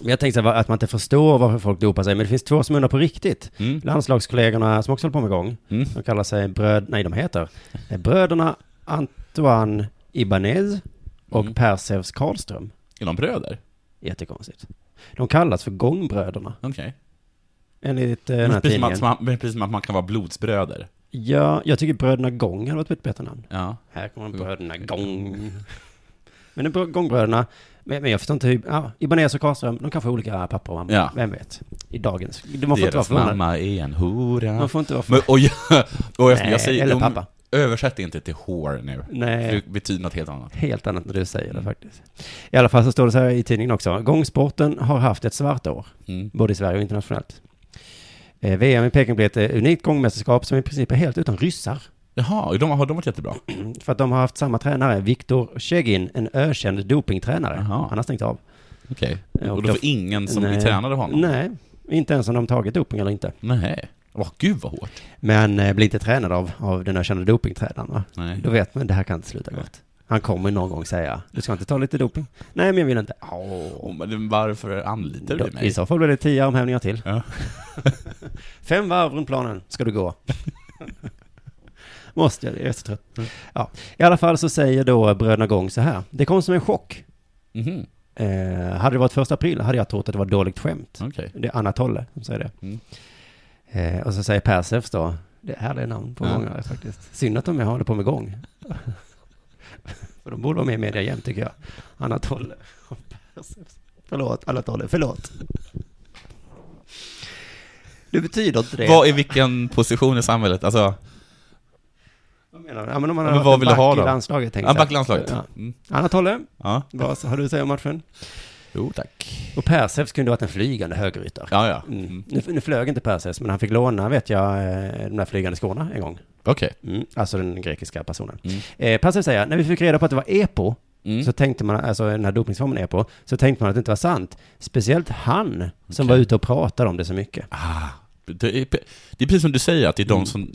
Speaker 4: Men Jag tänkte så här, va- att man inte förstår varför folk dopar sig, men det finns två som undrar på riktigt.
Speaker 3: Mm.
Speaker 4: Landslagskollegorna som också håller på med gång,
Speaker 3: Mm.
Speaker 4: de kallar sig bröd, nej de heter eh, bröderna Antoine Ibanez och
Speaker 3: Mm.
Speaker 4: Perseus Karlström.
Speaker 3: Är de bröder?
Speaker 4: Jättekonstigt. De kallas för gångbröderna,
Speaker 3: Okej.
Speaker 4: enligt eh, den här
Speaker 3: Men Precis, som
Speaker 4: tidningen.
Speaker 3: att- som att- men precis som att man kan vara blodsbröder.
Speaker 4: Ja, jag tycker bröderna Gång hade varit ett bättre namn.
Speaker 3: Ja.
Speaker 4: Här kommer bröderna Gång. Men det är br- gångbröderna, men, men jag förstår inte hur, ja, Ibanez och Karlström, de kanske har olika pappa och mamma.
Speaker 3: Ja.
Speaker 4: Vem vet? I dagens, man får inte vara
Speaker 3: Deras
Speaker 4: förvånad.
Speaker 3: mamma är en hora.
Speaker 4: Man får inte vara
Speaker 3: Men,
Speaker 4: förvånad.
Speaker 3: och jag, och jag,
Speaker 4: Nej,
Speaker 3: jag säger,
Speaker 4: eller
Speaker 3: de-
Speaker 4: pappa.
Speaker 3: översätt inte till hår nu. För
Speaker 4: Nej,
Speaker 3: det betyder något helt annat.
Speaker 4: helt annat när du säger det faktiskt. I alla fall så står det så här i tidningen också. Gångsporten har haft ett svart år,
Speaker 3: Mm.
Speaker 4: både i Sverige och internationellt. Eh, VM i Peking blev ett eh, unikt gångmästerskap som i princip är helt utan ryssar.
Speaker 3: Jaha, de, har de varit jättebra?
Speaker 4: För att de har haft samma tränare, Viktor Tjegin, en ökänd dopingtränare.
Speaker 3: Jaha.
Speaker 4: Han har stängt av.
Speaker 3: Okej.
Speaker 4: Ja,
Speaker 3: Och
Speaker 4: och
Speaker 3: då
Speaker 4: då-
Speaker 3: får ingen som blir
Speaker 4: Nej.
Speaker 3: tränad av honom?
Speaker 4: Nej, inte ens om de tagit doping eller inte.
Speaker 3: Nej. Åh, gud vad hårt.
Speaker 4: Men eh, blir inte tränad av, av den ökända dopingtränaren. va?
Speaker 3: Nej.
Speaker 4: Då vet man, det här kan inte sluta gott. Han kommer någon gång säga, du ska inte ta lite doping? Nej, men jag vill inte.
Speaker 3: Åh, men varför anlitar
Speaker 4: Då-
Speaker 3: du
Speaker 4: I
Speaker 3: mig?
Speaker 4: så fall blir det tio armhävningar till.
Speaker 3: Ja.
Speaker 4: Fem varv runt planen ska du gå. Måste jag, jag är så trött.
Speaker 3: Mm.
Speaker 4: Ja. I alla fall så säger då bröderna Gång så här, det kom som en chock.
Speaker 3: Mhm.
Speaker 4: Eh, hade det varit första april hade jag trott att det var dåligt skämt.
Speaker 3: Okej.
Speaker 4: Det är Anna Tolle som säger det.
Speaker 3: Mm.
Speaker 4: Eh, och så säger Persefs då, det är härliga namn på
Speaker 3: Ja.
Speaker 4: många faktiskt. Synd att de håller på med gång. För de borde vara med i media jämt tycker jag. Anna Tolle och Persefs. Förlåt, Anna Tolle, förlåt. Det betyder inte det.
Speaker 3: Vad i vilken position i samhället? Alltså,
Speaker 4: Vad menar du? Ja, men om man
Speaker 3: Ja,
Speaker 4: har
Speaker 3: men vad
Speaker 4: varit
Speaker 3: vill du
Speaker 4: back
Speaker 3: ha
Speaker 4: i
Speaker 3: då?
Speaker 4: landslaget tänker
Speaker 3: ja,
Speaker 4: jag.
Speaker 3: backlandslaget.
Speaker 4: Ja.
Speaker 3: Mm.
Speaker 4: Anna Tolle,
Speaker 3: Ja.
Speaker 4: vad har du att säga om matchen?
Speaker 3: Jo, tack.
Speaker 4: Och Persefs kunde ha varit en flygande högerytter.
Speaker 3: Ja, ja.
Speaker 4: Mm.
Speaker 3: Mm.
Speaker 4: Nu, nu flög inte Perseus, men han fick låna, vet jag, eh, de där flygande skorna en gång.
Speaker 3: Okej.
Speaker 4: Alltså den grekiska personen.
Speaker 3: Mm.
Speaker 4: Eh, Perseus säger, när vi fick reda på att det var EPO,
Speaker 3: Mm.
Speaker 4: så tänkte man, alltså den här dopningsformen EPO, så tänkte man att det inte var sant. Speciellt han, som
Speaker 3: Okej.
Speaker 4: var ute och pratade om det så mycket.
Speaker 3: Ah, det, är, det är precis som du säger, att det är, de som,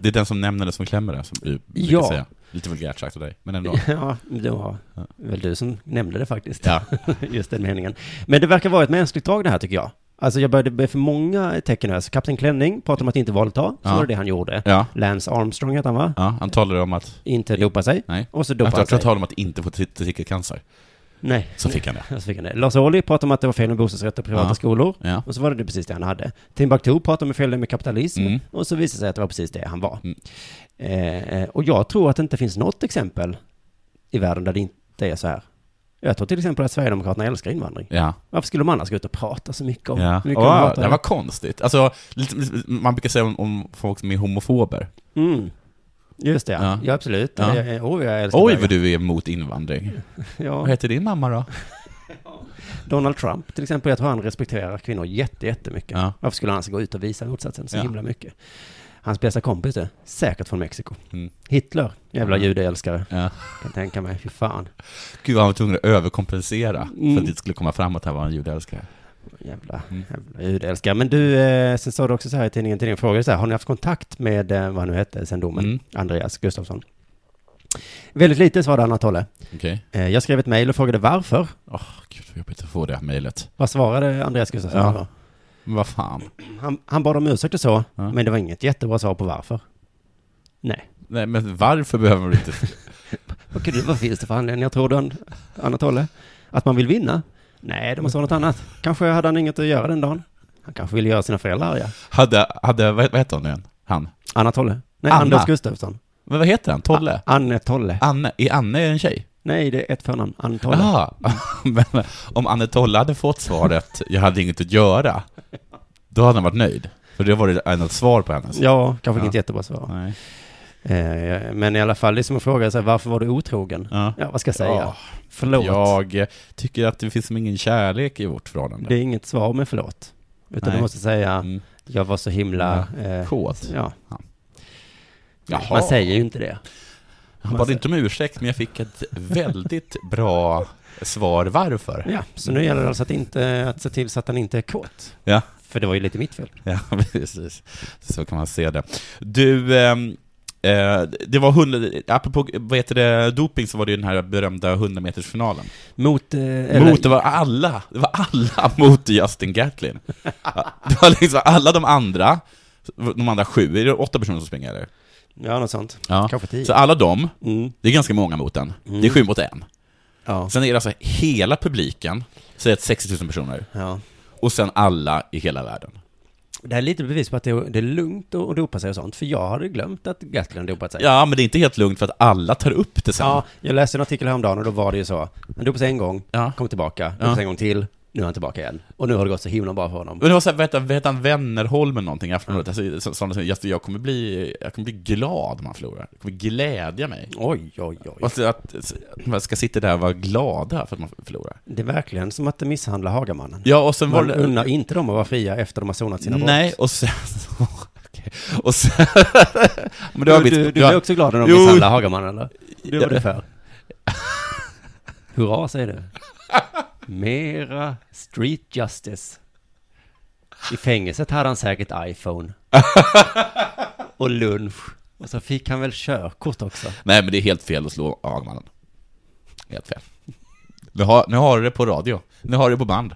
Speaker 3: det är den som nämner det som klämmer det, som du brukar
Speaker 4: Mm. Ja.
Speaker 3: säga. Lite vulgärt sagt av dig, men ändå.
Speaker 4: Ja, det var väl du som nämnde det faktiskt.
Speaker 3: Ja.
Speaker 4: Just den meningen. Men det verkar vara ett mänskligt drag det här tycker jag. Alltså jag började bli för många tecken här. Så Kapten Klänning pratade om att inte våldta, så
Speaker 3: Ja.
Speaker 4: var det det han gjorde.
Speaker 3: Ja.
Speaker 4: Lance Armstrong hette han va?
Speaker 3: ja, han talar om att...
Speaker 4: Inte dopa sig.
Speaker 3: Nej.
Speaker 4: Och så
Speaker 3: Jag
Speaker 4: dopade
Speaker 3: tror
Speaker 4: han
Speaker 3: jag
Speaker 4: sig.
Speaker 3: talar om att inte få testikelcancer.
Speaker 4: Nej.
Speaker 3: Så fick han det.
Speaker 4: Ja, Så fick han det. Lars Ohly pratade om att det var fel med bostadsrätter och privata
Speaker 3: Ja.
Speaker 4: skolor.
Speaker 3: Ja.
Speaker 4: Och så var det, det precis det han hade. Tim Bakto pratade om fel med kapitalism.
Speaker 3: Mm.
Speaker 4: Och så visade det sig att det var precis det han var.
Speaker 3: Mm.
Speaker 4: Eh, eh, och jag tror att det inte finns något exempel i världen där det inte är så här. Jag tror till exempel att Sverigedemokraterna älskar invandring.
Speaker 3: Ja.
Speaker 4: Varför skulle de annars gå ut och prata så mycket om
Speaker 3: Ja.
Speaker 4: hur mycket de
Speaker 3: Åh,
Speaker 4: hatar
Speaker 3: det var konstigt. Alltså, lite- lite- man brukar säga om, om folk som är homofober.
Speaker 4: Mm. Just det,
Speaker 3: Ja.
Speaker 4: ja. ja absolut.
Speaker 3: Ja.
Speaker 4: Ja. Oh, jag älskar
Speaker 3: Oj,
Speaker 4: bögar.
Speaker 3: vad du är emot invandring.
Speaker 4: Ja.
Speaker 3: Vad heter din mamma då?
Speaker 4: Donald Trump till exempel, jag tror han respekterar kvinnor jätte, jättemycket.
Speaker 3: Ja.
Speaker 4: Varför skulle han alltså gå ut och visa motsatsen så
Speaker 3: Ja.
Speaker 4: himla mycket? Hans bästa kompis är säkert från Mexiko.
Speaker 3: Mm.
Speaker 4: Hitler, jävla
Speaker 3: Mm.
Speaker 4: judeälskare,
Speaker 3: Ja.
Speaker 4: kan tänka mig. Fy fan,
Speaker 3: Gud, han var tvungen att överkompensera
Speaker 4: Mm.
Speaker 3: för att det skulle komma fram att han var en judeälskare.
Speaker 4: jävla,
Speaker 3: Mm.
Speaker 4: jävla judeälskare. Men du, eh, sen sa du också så här i tidningen, till din fråga, så här, har ni haft kontakt med, eh, vad han nu hette sen domen,
Speaker 3: Mm.
Speaker 4: Andreas Gustafsson? Väldigt lite svarade Anna Tolle.
Speaker 3: Okej.
Speaker 4: Eh, jag skrev ett mejl och frågade varför.
Speaker 3: Åh, gud vad jobbigt att få det här mejlet.
Speaker 4: Vad svarade Andreas Gustafsson?
Speaker 3: Ja.
Speaker 4: då?
Speaker 3: Men vad fan.
Speaker 4: Han, han bad om ursäkt och så,
Speaker 3: Ja.
Speaker 4: men det var inget jättebra svar på varför. Nej.
Speaker 3: Nej, men varför behöver man inte...
Speaker 4: Vad, kan du, vad finns det för anledningar tror du, An- Anatole? eh? Att man vill vinna? Nej, det måste vara något annat. Kanske hade han inget att göra den dagen. Han kanske ville göra sina föräldrar arga.
Speaker 3: Hade, hade vad, vad heter hon nu igen? Han?
Speaker 4: Anatole? Nej,
Speaker 3: Anna.
Speaker 4: Anders Gustafsson.
Speaker 3: Men vad heter han? Tolle?
Speaker 4: A- Anne Tolle.
Speaker 3: Anne? Är Anne en tjej?
Speaker 4: Nej, det är ett förnamn. Anne Tolle.
Speaker 3: Ja. Men om Anne Tolle hade fått svaret, jag hade inget att göra, då hade han varit nöjd. För det var det ett svar på hennes.
Speaker 4: Ja, kanske
Speaker 3: Ja.
Speaker 4: inget jättebra svar.
Speaker 3: Nej.
Speaker 4: Eh, men i alla fall, det är som att fråga sig varför var du otrogen?
Speaker 3: Ja.
Speaker 4: Ja, vad ska jag säga?
Speaker 3: Ja.
Speaker 4: Förlåt.
Speaker 3: Jag eh, tycker att det finns som ingen kärlek i vårt förhållande.
Speaker 4: Det är inget svar med förlåt. Utan
Speaker 3: Nej.
Speaker 4: du måste säga,
Speaker 3: Mm.
Speaker 4: jag var så himla... eh,
Speaker 3: Kåt.
Speaker 4: Ja.
Speaker 3: Ja. Jaha.
Speaker 4: Man säger ju inte det.
Speaker 3: Han bad inte om ursäkt, men jag fick ett väldigt bra svar varför.
Speaker 4: Ja, så nu gäller det alltså att, inte, att se till så att han inte är kåt.
Speaker 3: Ja.
Speaker 4: För det var ju lite mitt fel.
Speaker 3: Ja, precis. Så kan man se det. Du, ehm, Eh, det var 100, apropå vad heter det, doping så var det ju den här berömda 100-metersfinalen.
Speaker 4: Mot, eh, eller,
Speaker 3: Mot, det var alla, det var alla mot Justin Gatlin. Ja, Det var liksom alla de andra, de andra sju, är det åtta personer som springer eller?
Speaker 4: ja något sånt.
Speaker 3: Ja.
Speaker 4: Kanske tio.
Speaker 3: Så alla de,
Speaker 4: Mm.
Speaker 3: det är ganska många mot en. Det är sju mot en.
Speaker 4: Ja.
Speaker 3: Sen är det alltså hela publiken, säg att 60 000 personer,
Speaker 4: ja.
Speaker 3: och sen alla i hela världen.
Speaker 4: Det här är lite bevis på att det är, det är lugnt att att dopa sig och sånt, för jag hade glömt att Gatlin dopat sig.
Speaker 3: Ja, men det är inte helt lugnt för att alla tar upp det sen.
Speaker 4: Ja, jag läste en artikel häromdagen och då var det ju så. Han dopade sig en gång,
Speaker 3: Ja.
Speaker 4: kom tillbaka, dopade
Speaker 3: Ja.
Speaker 4: sig en gång till, nu är han tillbaka igen. Och nu har det gått så himla bra för honom.
Speaker 3: Men det var såhär, vad heter- vad heter han, Wennerholm eller någonting, i Aftonbladet, alltså, som- som sa "Just det, jag kommer bli, jag kommer bli glad om han förlorar. Jag kommer glädja mig.
Speaker 4: Oj, oj, oj.
Speaker 3: Alltså att, att man ska sitta där och vara glada för att man förlorar.
Speaker 4: Det är verkligen som att det misshandlar Hagamannen.
Speaker 3: Ja, och sen var
Speaker 4: Man
Speaker 3: det...
Speaker 4: unnar inte dem att vara fria efter de har sonat sina
Speaker 3: Nej,
Speaker 4: brott.
Speaker 3: och sen... Okej. Och sen... men det var
Speaker 4: Du,
Speaker 3: mitt-
Speaker 4: du, du
Speaker 3: ja.
Speaker 4: blev också glad när de
Speaker 3: Jo.
Speaker 4: misshandlade Hagamannen, eller? Det var
Speaker 3: Ja.
Speaker 4: du för. Hurra, säger du. Mera street justice. I fängelset hade han säkert iPhone. Och lunch. Och så fick han väl körkort också.
Speaker 3: Nej, men det är helt fel att slå Hagmannen. Helt fel. Nu har, nu har du det på radio. Nu har du det på band.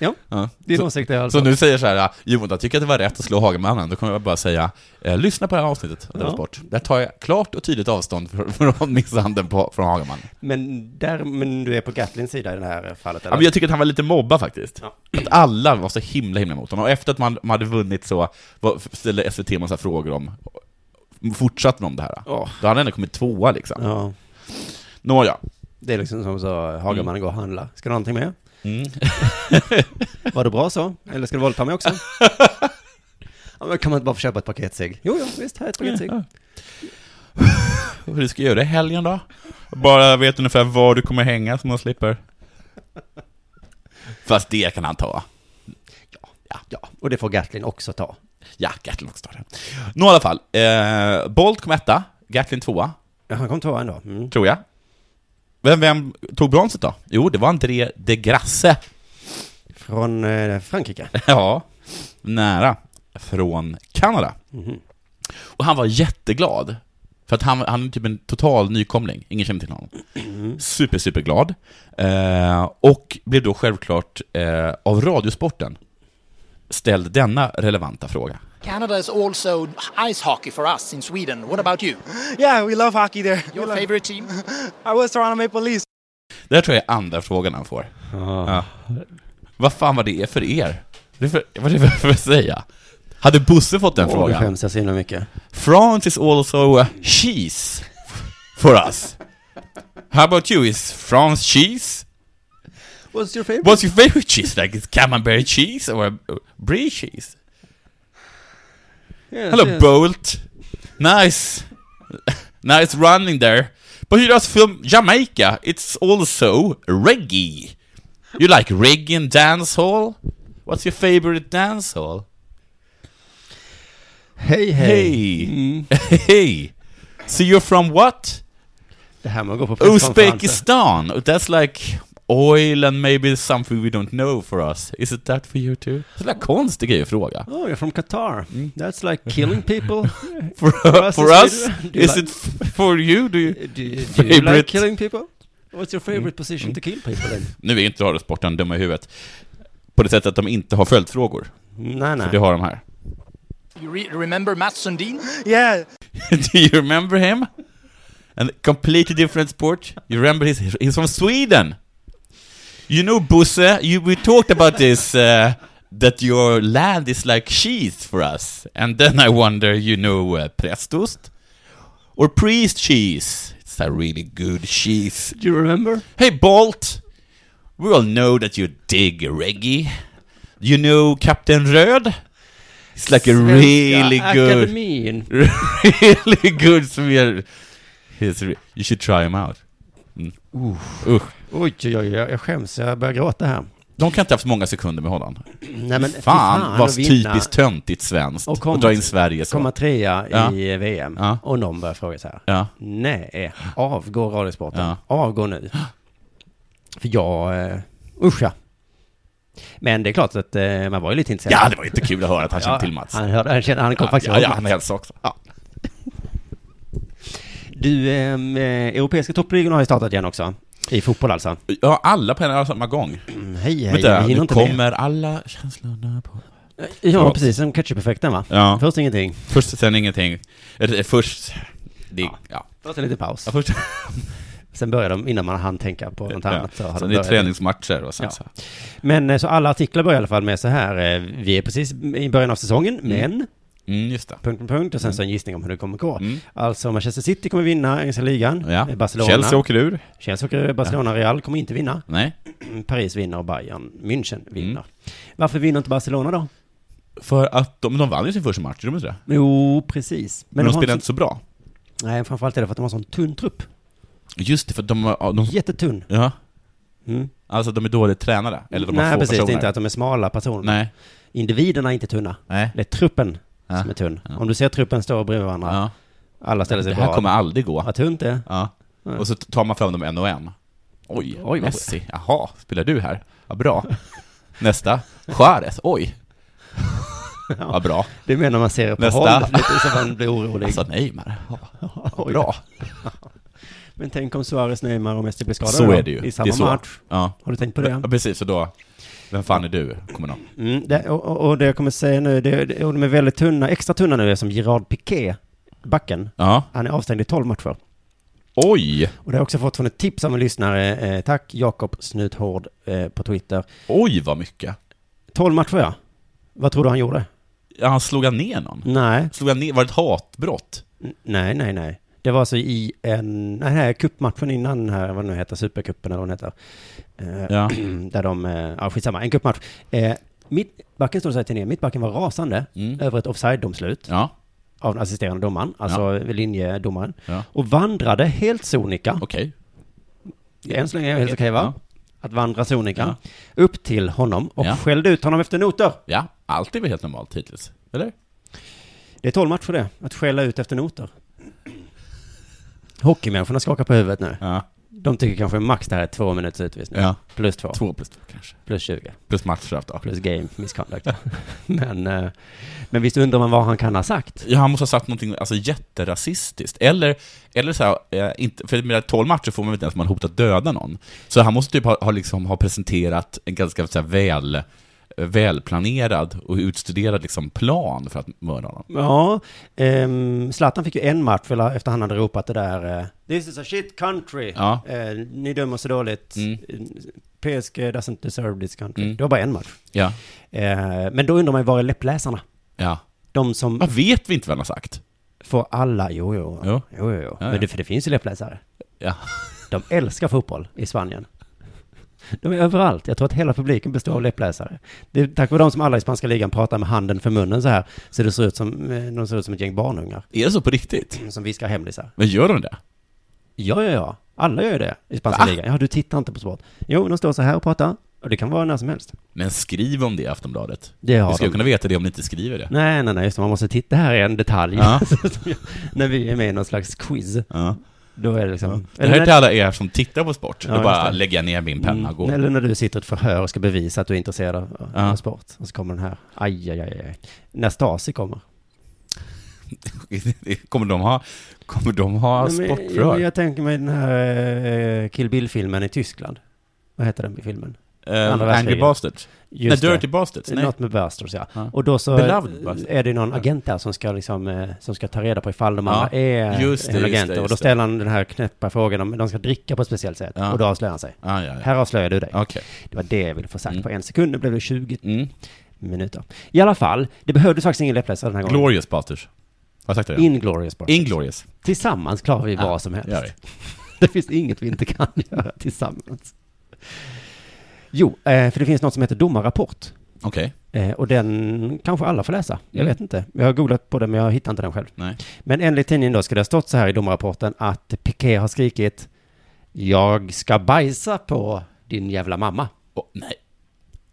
Speaker 4: Ja,
Speaker 3: Ja.
Speaker 4: din
Speaker 3: Så-
Speaker 4: åsikt är alltså.
Speaker 3: Så nu säger så här, Johan, jag tycker att det var rätt att slå Hagemannen, då kommer jag bara säga, eh, lyssna på det här avsnittet av Della
Speaker 4: Ja.
Speaker 3: Sport. Där tar jag klart och tydligt avstånd fr- från misshandeln på, från Hagemannen.
Speaker 4: Men, där, men du är på Gatlins sida i det här fallet,
Speaker 3: Ja,
Speaker 4: eller?
Speaker 3: men jag tycker att han var lite mobbad faktiskt. Att alla var så himla himla mot honom. Och efter att man, man hade vunnit så var, ställde SVT en massa frågor om, fortsatte om det här.
Speaker 4: Åh.
Speaker 3: Då hade han ändå kommit tvåa liksom.
Speaker 4: ja.
Speaker 3: Nåja.
Speaker 4: Det är liksom som så, Hagamannen går och handlar. Ska du ha någonting med?
Speaker 3: Mm.
Speaker 4: Var det bra så? Eller ska du våldta mig också? ja, men kan man inte bara få köpa ett paket cigg? Jo, jo, visst, här är ett paket cigg.
Speaker 3: Hur ska jag göra i helgen då? Bara vet ungefär var du kommer hänga så man slipper. Fast det kan han ta.
Speaker 4: Ja, och det får Gatlin också ta.
Speaker 3: Ja, Gatlin också tar det. Nå i alla fall. Eh, Bolt kom etta, Gatlin tvåa,
Speaker 4: Ja, han kom tvåa ändå. Mm.
Speaker 3: tror jag. Vem, vem tog bronset då? Jo, det var André de Grasse.
Speaker 4: Från eh, Frankrike.
Speaker 3: Ja, nära. Från Kanada. Och han var jätteglad. För att han, han är typ en total nykomling, ingen känner till honom. Super, superglad. Eh, och blev då självklart eh, av Radiosporten ställd denna relevanta fråga.
Speaker 7: Canada is also ice hockey for us in Sweden. What about you?
Speaker 8: Yeah, we love hockey there.
Speaker 7: Your favorite team?
Speaker 8: I was Toronto Maple Leafs.
Speaker 3: Det här tror jag är andra frågan han får. Ja. Vad fan var det för er? Det är för, vad är det för att säga? Hade Bosse fått den
Speaker 4: Åh, nu
Speaker 3: frågan?
Speaker 4: skäms jag så himla mycket.
Speaker 3: France is also uh, cheese for us. How about you? Is France cheese?
Speaker 4: What's your favorite?
Speaker 3: What's your favorite cheese? Like is camembert cheese or uh, brie cheese? Hello, Bolt. Nice, nice running there. But you just from Jamaica. It's also reggae. You like reggae and dancehall? What's your favorite dancehall?
Speaker 4: Hej, hej.
Speaker 3: Hey, Mm. hey. So you're from what?
Speaker 4: Det här med att gå på presskonferenser.
Speaker 3: Uzbekistan. That's like oil and maybe something we don't know for us. Is it that for you too? Sådär konstig grej att fråga.
Speaker 4: Oh, you're from Qatar. That's like killing people.
Speaker 3: For,
Speaker 4: us
Speaker 3: for us?
Speaker 4: is really- do you
Speaker 3: Is
Speaker 4: like-
Speaker 3: it f- for you? Do you?
Speaker 4: do, do you
Speaker 3: Favorite.
Speaker 4: like killing people? What's your favorite position to kill people in?
Speaker 3: Nu är inte Radiosporten dumma i huvudet. På det sättet att de inte har följdfrågor.
Speaker 4: Nej, nej.
Speaker 3: För det har de här.
Speaker 7: You re- remember Mats Sundin?
Speaker 8: Yeah,
Speaker 3: Do you remember him? And completely different sport. You remember his, he's from Sweden. You know Bosse, you, we talked about this uh, that your land is like cheese for us. And then I wonder, you know uh, prästost or priest cheese? It's a really good cheese.
Speaker 4: Do you remember?
Speaker 3: Hey Bolt, we all know that you dig reggae. You know Captain Röd? It's like a really good
Speaker 4: Akademin.
Speaker 3: really good smear. His re- you should try him out. Mm. Usch.
Speaker 4: Oj, oj, oj, jag jag skäms. Jag börjar gråta här.
Speaker 3: De kan inte ha haft många sekunder med honom.
Speaker 4: Nej, men fy
Speaker 3: Fan, vad
Speaker 4: att vinna.
Speaker 3: typiskt töntigt svenskt
Speaker 4: Och komma-
Speaker 3: att dra in Sverige så.
Speaker 4: komma trea
Speaker 3: Ja.
Speaker 4: i VM
Speaker 3: Ja.
Speaker 4: och någon börjar fråga så här.
Speaker 3: Ja.
Speaker 4: Nej, avgå Radiosporten.
Speaker 3: Ja.
Speaker 4: Avgå nu. För jag, eh, usch ja. Men det är klart att eh, man var ju lite intresserad.
Speaker 3: ja, det var ju inte kul att höra att han kände till Mats.
Speaker 4: Han, hörde, han, kände, han kom
Speaker 3: ja,
Speaker 4: faktiskt
Speaker 3: ja,
Speaker 4: ihåg
Speaker 3: ja,
Speaker 4: Mats.
Speaker 3: han hälsade också. Ja.
Speaker 4: Du, ehm, eh, europeiska toppligorna har ju startat igen också. I fotboll alltså.
Speaker 3: Ja, alla på en och samma gång.
Speaker 4: Mm, hej, hej,
Speaker 3: Mm. Vänta,
Speaker 4: vi hinner
Speaker 3: nu
Speaker 4: inte med.
Speaker 3: kommer alla känslorna på...
Speaker 4: Ja,
Speaker 3: Förlåt.
Speaker 4: precis. Som ketchup-effekten va?
Speaker 3: Ja.
Speaker 4: Först ingenting.
Speaker 3: Först, sen ingenting. Eh, Först... Det, ja. Ja.
Speaker 4: Först en liten paus.
Speaker 3: först,
Speaker 4: Sen börjar de, innan man hann tänka på något annat. Så har
Speaker 3: Sen det
Speaker 4: de
Speaker 3: är
Speaker 4: börjat.
Speaker 3: träningsmatcher och sen
Speaker 4: Ja.
Speaker 3: så.
Speaker 4: Men eh, så alla artiklar börjar i alla fall med så här. eh, Vi är precis i början av säsongen, men...
Speaker 3: Mm, just det.
Speaker 4: Punkt, punkt, punkt. Och sen så en gissning om hur det kommer gå.
Speaker 3: Mm.
Speaker 4: Alltså Manchester City kommer vinna engelska ligan.
Speaker 3: Ja.
Speaker 4: Eh, Barcelona.
Speaker 3: Chelsea åker ur.
Speaker 4: Chelsea åker- Barcelona, Real kommer inte vinna. Mm,
Speaker 3: Nej.
Speaker 4: Paris vinner och Bayern München
Speaker 3: Mm.
Speaker 4: vinner. Varför vinner inte Barcelona då?
Speaker 3: För att de, de vann ju sin första match, gjorde de inte det?
Speaker 4: Jo, precis.
Speaker 3: Men de
Speaker 4: har
Speaker 3: spelar
Speaker 4: en
Speaker 3: inte
Speaker 4: sån,
Speaker 3: så bra.
Speaker 4: Nej, framförallt är det för att de har sån tunn trupp.
Speaker 3: Just det, för att de, ja, de,
Speaker 4: Jättetunn.
Speaker 3: ja,
Speaker 4: Mm.
Speaker 3: alltså de är dåligt tränade. Eller de har
Speaker 4: Nej,
Speaker 3: få
Speaker 4: precis. Det är
Speaker 3: personer.
Speaker 4: inte att de är smala personer.
Speaker 3: Nej,
Speaker 4: Individerna är inte tunna.
Speaker 3: nej.
Speaker 4: Det är truppen
Speaker 3: Ja.
Speaker 4: som är tunn.
Speaker 3: Ja.
Speaker 4: Om du ser truppen stå bredvid varandra,
Speaker 3: Ja.
Speaker 4: alla ställer sig
Speaker 3: Det här
Speaker 4: bra.
Speaker 3: kommer aldrig gå.
Speaker 4: Vad tunt det är.
Speaker 3: Ja.
Speaker 4: Nej.
Speaker 3: Och så tar man fram dem en och en. Oj,
Speaker 4: Oj, vad-
Speaker 3: Messi. Jaha, spelar du här? Ja, bra. Nästa. Suarez. Oj. Ja, bra.
Speaker 4: Det menar man ser på
Speaker 3: Nästa.
Speaker 4: håll, lite så man blir orolig.
Speaker 3: Alltså Neymar. Ja,
Speaker 4: Oj.
Speaker 3: bra.
Speaker 4: Men tänk om Suarez, Neymar och Messi blir skadade
Speaker 3: Så
Speaker 4: då,
Speaker 3: är det ju.
Speaker 4: i
Speaker 3: Det
Speaker 4: samma
Speaker 3: är så.
Speaker 4: match.
Speaker 3: Ja.
Speaker 4: Har du tänkt på det?
Speaker 3: Ja, precis. Och då, vem fan är du? Kommer någon.
Speaker 4: Mm, det och, och- och det jag kommer säga nu, det, det, och de är väldigt tunna, extra tunna nu, är som Gerard Piqué, backen.
Speaker 3: Ja.
Speaker 4: Han är avstängd i 12 matcher.
Speaker 3: Oj!
Speaker 4: Och det har jag också fått från ett tips av en lyssnare. Eh, tack, Jakob Snuthård eh, på Twitter.
Speaker 3: Oj, vad mycket.
Speaker 4: 12 matcher, ja. Vad tror du han gjorde?
Speaker 3: Ja, han slog han ner någon?
Speaker 4: Nej,
Speaker 3: Slog han ner? Var det ett hatbrott?
Speaker 4: N- nej, nej, nej. Det var alltså i en, nej, nej, cupmatchen innan den här, vad den nu heter, supercupen eller vad den heter. Eh,
Speaker 3: Ja.
Speaker 4: Där de, eh, ja skitsamma, en cupmatch. Eh, mittbacken stod och sa till ner, mittbacken var rasande
Speaker 3: Mm.
Speaker 4: över ett offside-domslut
Speaker 3: Ja,
Speaker 4: av den assisterande domaren, alltså linjedomaren.
Speaker 3: Ja.
Speaker 4: Och vandrade helt sonika,
Speaker 3: okej.
Speaker 4: än så länge är det helt okej va?
Speaker 3: Ja.
Speaker 4: Att vandra sonika,
Speaker 3: Ja.
Speaker 4: upp till honom och
Speaker 3: Ja.
Speaker 4: skällde ut honom efter noter.
Speaker 3: Ja, allt är väl helt normalt hittills? Eller?
Speaker 4: Det är tolv för det, att skälla ut efter noter. Hockeymänniskorna skakar på huvudet nu.
Speaker 3: Ja.
Speaker 4: De tycker kanske max det här är två minuters utvisning.
Speaker 3: Ja.
Speaker 4: Plus två,
Speaker 3: Två plus två kanske.
Speaker 4: plus 20,
Speaker 3: Plus matchstraff då.
Speaker 4: plus game misconduct. men, eh, men visst undrar man vad han kan ha sagt?
Speaker 3: Ja, han måste ha sagt någonting alltså, jätterasistiskt. Eller, eller så här, eh, inte, för med 12 matcher får man väl inte ens man hotat döda någon. Så han måste typ ha, ha, liksom, ha presenterat en ganska så här, väl, eh, välplanerad och utstuderad liksom, plan för att mörda honom.
Speaker 4: Ja, ehm, Zlatan fick ju en match för- efter han hade ropat det där eh, This is a shit country.
Speaker 3: Ja.
Speaker 4: Eh, ni dömer så dåligt. Eh,
Speaker 3: Mm.
Speaker 4: PSG doesn't deserve this country.
Speaker 3: Mm.
Speaker 4: Det var bara en match.
Speaker 3: Ja.
Speaker 4: Eh, men då undrar man ju, var är läppläsarna?
Speaker 3: ja.
Speaker 4: De som
Speaker 3: Vad vet vi inte vad han har sagt?
Speaker 4: får alla, jo jo,
Speaker 3: Jo.
Speaker 4: jo jo. jo.
Speaker 3: ja.
Speaker 4: Men det, för det finns ju läppläsare.
Speaker 3: Ja.
Speaker 4: De älskar fotboll i Spanien. De är överallt. Jag tror att hela publiken består av läppläsare. Det är tack vare dem som alla i spanska ligan pratar med handen för munnen så här. Så det ser ut som, eh, de ser ut som ett gäng barnungar
Speaker 3: Är det så på riktigt?
Speaker 4: som viskar hemlisar.
Speaker 3: Men gör de det?
Speaker 4: Ja, ja, ja. Alla gör ju det i spanska
Speaker 3: Va?
Speaker 4: ligan. Ja, du tittar inte på sport. Jo, de står så här och pratar. Och det kan vara när som helst.
Speaker 3: Men skriv om det i Aftonbladet.
Speaker 4: Det har
Speaker 3: Vi ska
Speaker 4: de.
Speaker 3: ju kunna veta det om ni inte skriver det.
Speaker 4: Nej, nej, nej, just det. Man måste titta. Det här är en detalj.
Speaker 3: Ja.
Speaker 4: Som jag- när vi är med i någon slags quiz.
Speaker 3: Ja.
Speaker 4: Då är det liksom...
Speaker 3: Det här är till alla er som tittar på sport.
Speaker 4: Ja,
Speaker 3: Då bara
Speaker 4: just det.
Speaker 3: lägger jag ner min penna och
Speaker 4: Mm.
Speaker 3: går.
Speaker 4: Eller när du sitter i ett förhör och ska bevisa att du är intresserad av,
Speaker 3: Ja.
Speaker 4: av sport. Och så kommer den här, aj, aj, aj, aj. När Stasi kommer.
Speaker 3: Kommer de ha, kommer de ha
Speaker 4: Nej, men-
Speaker 3: sportförhör?
Speaker 4: jag, jag tänker mig den här eh, Kill Bill-filmen i Tyskland. Vad heter den filmen?
Speaker 3: Eh,
Speaker 4: Andra
Speaker 3: Angry
Speaker 4: världskriget.
Speaker 3: Bastards? Nej,
Speaker 4: det.
Speaker 3: Dirty Bastards? Nej.
Speaker 4: Något med Bastards, ja.
Speaker 3: Ja.
Speaker 4: Och då så
Speaker 3: Beloved Bastards.
Speaker 4: är det någon agent där som ska, liksom, eh, som ska ta reda på ifall de
Speaker 3: Ja.
Speaker 4: andra är
Speaker 3: Just det,
Speaker 4: en
Speaker 3: just
Speaker 4: agent.
Speaker 3: det,
Speaker 4: och
Speaker 3: just
Speaker 4: då
Speaker 3: det.
Speaker 4: ställer han den här knäppa frågan om de ska dricka på ett speciellt sätt.
Speaker 3: Ja.
Speaker 4: Och då avslöjar han sig.
Speaker 3: Ah, ja, ja.
Speaker 4: Här avslöjar du dig.
Speaker 3: Okej.
Speaker 4: Det var det jag ville få sagt.
Speaker 3: Mm.
Speaker 4: På en sekund nu blev det 20
Speaker 3: Mm.
Speaker 4: minuter. I alla fall, det behövdes faktiskt ingen läppläsare den här gången.
Speaker 3: Glorious Bastards. Har jag sagt det? redan?
Speaker 4: Inglorious bara.
Speaker 3: Inglorious.
Speaker 4: Tillsammans klarar vi
Speaker 3: Ja,
Speaker 4: vad som helst.
Speaker 3: gör vi.
Speaker 4: Det finns inget vi inte kan göra tillsammans. Jo, eh, för det finns något som heter domarrapport.
Speaker 3: Okej.
Speaker 4: Eh, Och den kanske alla får läsa. Jag
Speaker 3: Mm.
Speaker 4: vet inte. Jag har googlat på den men jag hittar inte den själv.
Speaker 3: Nej.
Speaker 4: Men enligt tidningen då ska det ha stått så här i domarrapporten att Piqué har skrikit Jag ska bajsa på din jävla mamma.
Speaker 3: Åh, nej.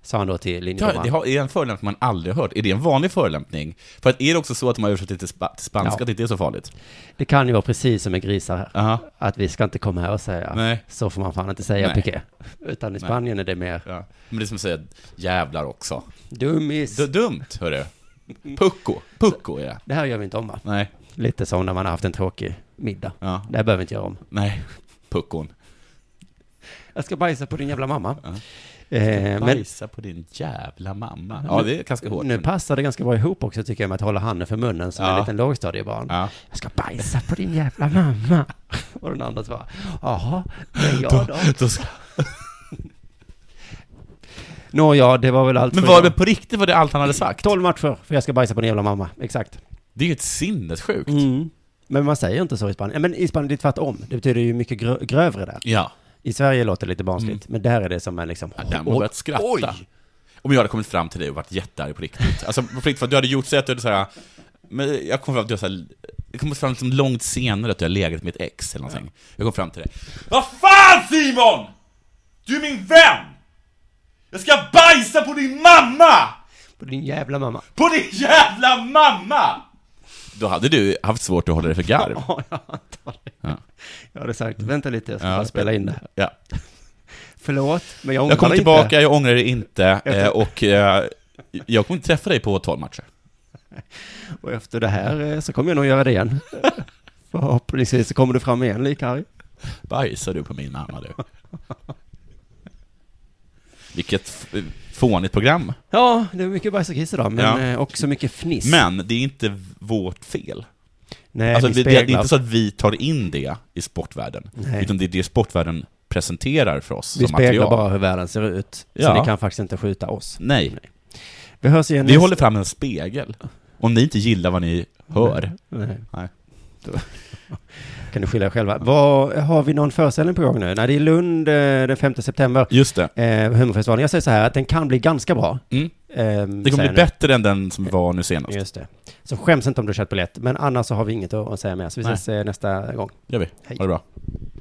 Speaker 4: Sa han då till
Speaker 3: Det, har, det
Speaker 4: linjedomaren.
Speaker 3: har, är en förolämpning man aldrig har hört. Är det en vanlig förolämpning? För att är det också så att de har översatt det till, spa, till spanska,
Speaker 4: Ja.
Speaker 3: att det inte är så farligt?
Speaker 4: Det kan ju vara precis som med grisar här.
Speaker 3: Aha.
Speaker 4: Att vi ska inte komma här och säga
Speaker 3: Nej.
Speaker 4: Så får man fan inte säga
Speaker 3: Nej.
Speaker 4: Piqué. Utan i Spanien är det mer
Speaker 3: Ja. Men det är som att säga jävlar också.
Speaker 4: dummis.
Speaker 3: D dumt, hörru. Pucko. Pucko är det.
Speaker 4: Det här gör vi inte om va?
Speaker 3: Nej.
Speaker 4: Lite som när man har haft en tråkig middag.
Speaker 3: Ja.
Speaker 4: Det här behöver inte jag om.
Speaker 3: Nej, puckon.
Speaker 4: Jag ska bajsa på din jävla mamma.
Speaker 3: Ja.
Speaker 4: Eh, men
Speaker 3: Bajsa på din jävla mamma. Ja, det är ganska hårt.
Speaker 4: nu
Speaker 3: men-
Speaker 4: passar det ganska bra ihop också tycker jag med att hålla handen för munnen som
Speaker 3: Ja.
Speaker 4: en liten lågstadiebarn.
Speaker 3: Ja.
Speaker 4: Jag ska bajsa på din jävla mamma. Och den andra svarar, jaha, men jag då?
Speaker 3: Då ska-
Speaker 4: Nåja, det var väl allt
Speaker 3: Men
Speaker 4: för
Speaker 3: var det
Speaker 4: idag.
Speaker 3: på riktigt var det allt han hade sagt?
Speaker 4: 12 matcher, för jag ska bajsa på din jävla mamma. Exakt.
Speaker 3: Det är ju ett sinnessjukt.
Speaker 4: Mm. Men man säger inte så i Spanien. Men i Spanien, det är tvärtom. Det betyder ju mycket grö- grövre där.
Speaker 3: Ja.
Speaker 4: I Sverige låter det lite barnsligt, men där är det som en liksom...
Speaker 3: Mm. Ja, Där har man börjat skratta. Om jag hade kommit fram till dig och varit jättearg på riktigt. Alltså på riktigt, för att du hade gjort så att du hade så här, men jag kom fram till att du hade så här, jag kom fram liksom långt senare att du hade legat med ett ex eller någonting. Jag kom fram till dig. Vad fan Simon! Du är min vän! Jag ska bajsa på din mamma!
Speaker 4: På din jävla mamma.
Speaker 3: På din jävla mamma! Då hade du haft svårt att hålla dig för garv.
Speaker 4: Ja, jag antar det.
Speaker 3: Ja.
Speaker 4: Jag hade sagt, vänta lite, jag ska
Speaker 3: Ja.
Speaker 4: bara spela in det här.
Speaker 3: Ja.
Speaker 4: Förlåt, men jag ångrar
Speaker 3: Jag kommer
Speaker 4: inte.
Speaker 3: tillbaka, jag ångrar det inte eh, och eh, jag kommer inte träffa dig på 12 matcher.
Speaker 4: Och efter det här eh, så kommer jag nog göra det igen. Förhoppningsvis så kommer du fram igen lika arg.
Speaker 3: Bajsar du på min mamma du? Vilket f- fånigt program.
Speaker 4: Ja, det är mycket bajs och kiss idag, men
Speaker 3: Ja.
Speaker 4: eh, också mycket fniss.
Speaker 3: Men det är inte vårt fel.
Speaker 4: Nej,
Speaker 3: Alltså,
Speaker 4: vi
Speaker 3: vi, det är
Speaker 4: speglar.
Speaker 3: inte så att vi tar in det i sportvärlden,
Speaker 4: Nej.
Speaker 3: utan det är det sportvärlden presenterar för oss
Speaker 4: vi
Speaker 3: som
Speaker 4: speglar
Speaker 3: material.
Speaker 4: bara hur världen ser ut.
Speaker 3: Ja.
Speaker 4: Så ni kan faktiskt inte skjuta oss.
Speaker 3: Nej,
Speaker 4: Vi hörs igen
Speaker 3: vi
Speaker 4: nästa-
Speaker 3: håller fram en spegel. Om ni inte gillar vad ni hör.
Speaker 4: Nej.
Speaker 3: Nej.
Speaker 4: Då- kan ni skylla er själva. Vad, har vi någon föreställning på gång nu? Nej, det är Lund eh, den 5 september.
Speaker 3: Just det.
Speaker 4: Eh, humorfestivalen. Jag säger så här att den kan bli ganska bra.
Speaker 3: Mm.
Speaker 4: Ehm,
Speaker 3: Det kommer
Speaker 4: säger
Speaker 3: bli
Speaker 4: jag nu.
Speaker 3: bättre än den som var nu senast.
Speaker 4: Just det. Så skäms inte om du har köpt biljett. Men annars så har vi inget att att säga mer. Så vi
Speaker 3: Nej.
Speaker 4: ses eh, nästa gång.
Speaker 3: gör vi.
Speaker 4: Hej.
Speaker 3: Ha det bra.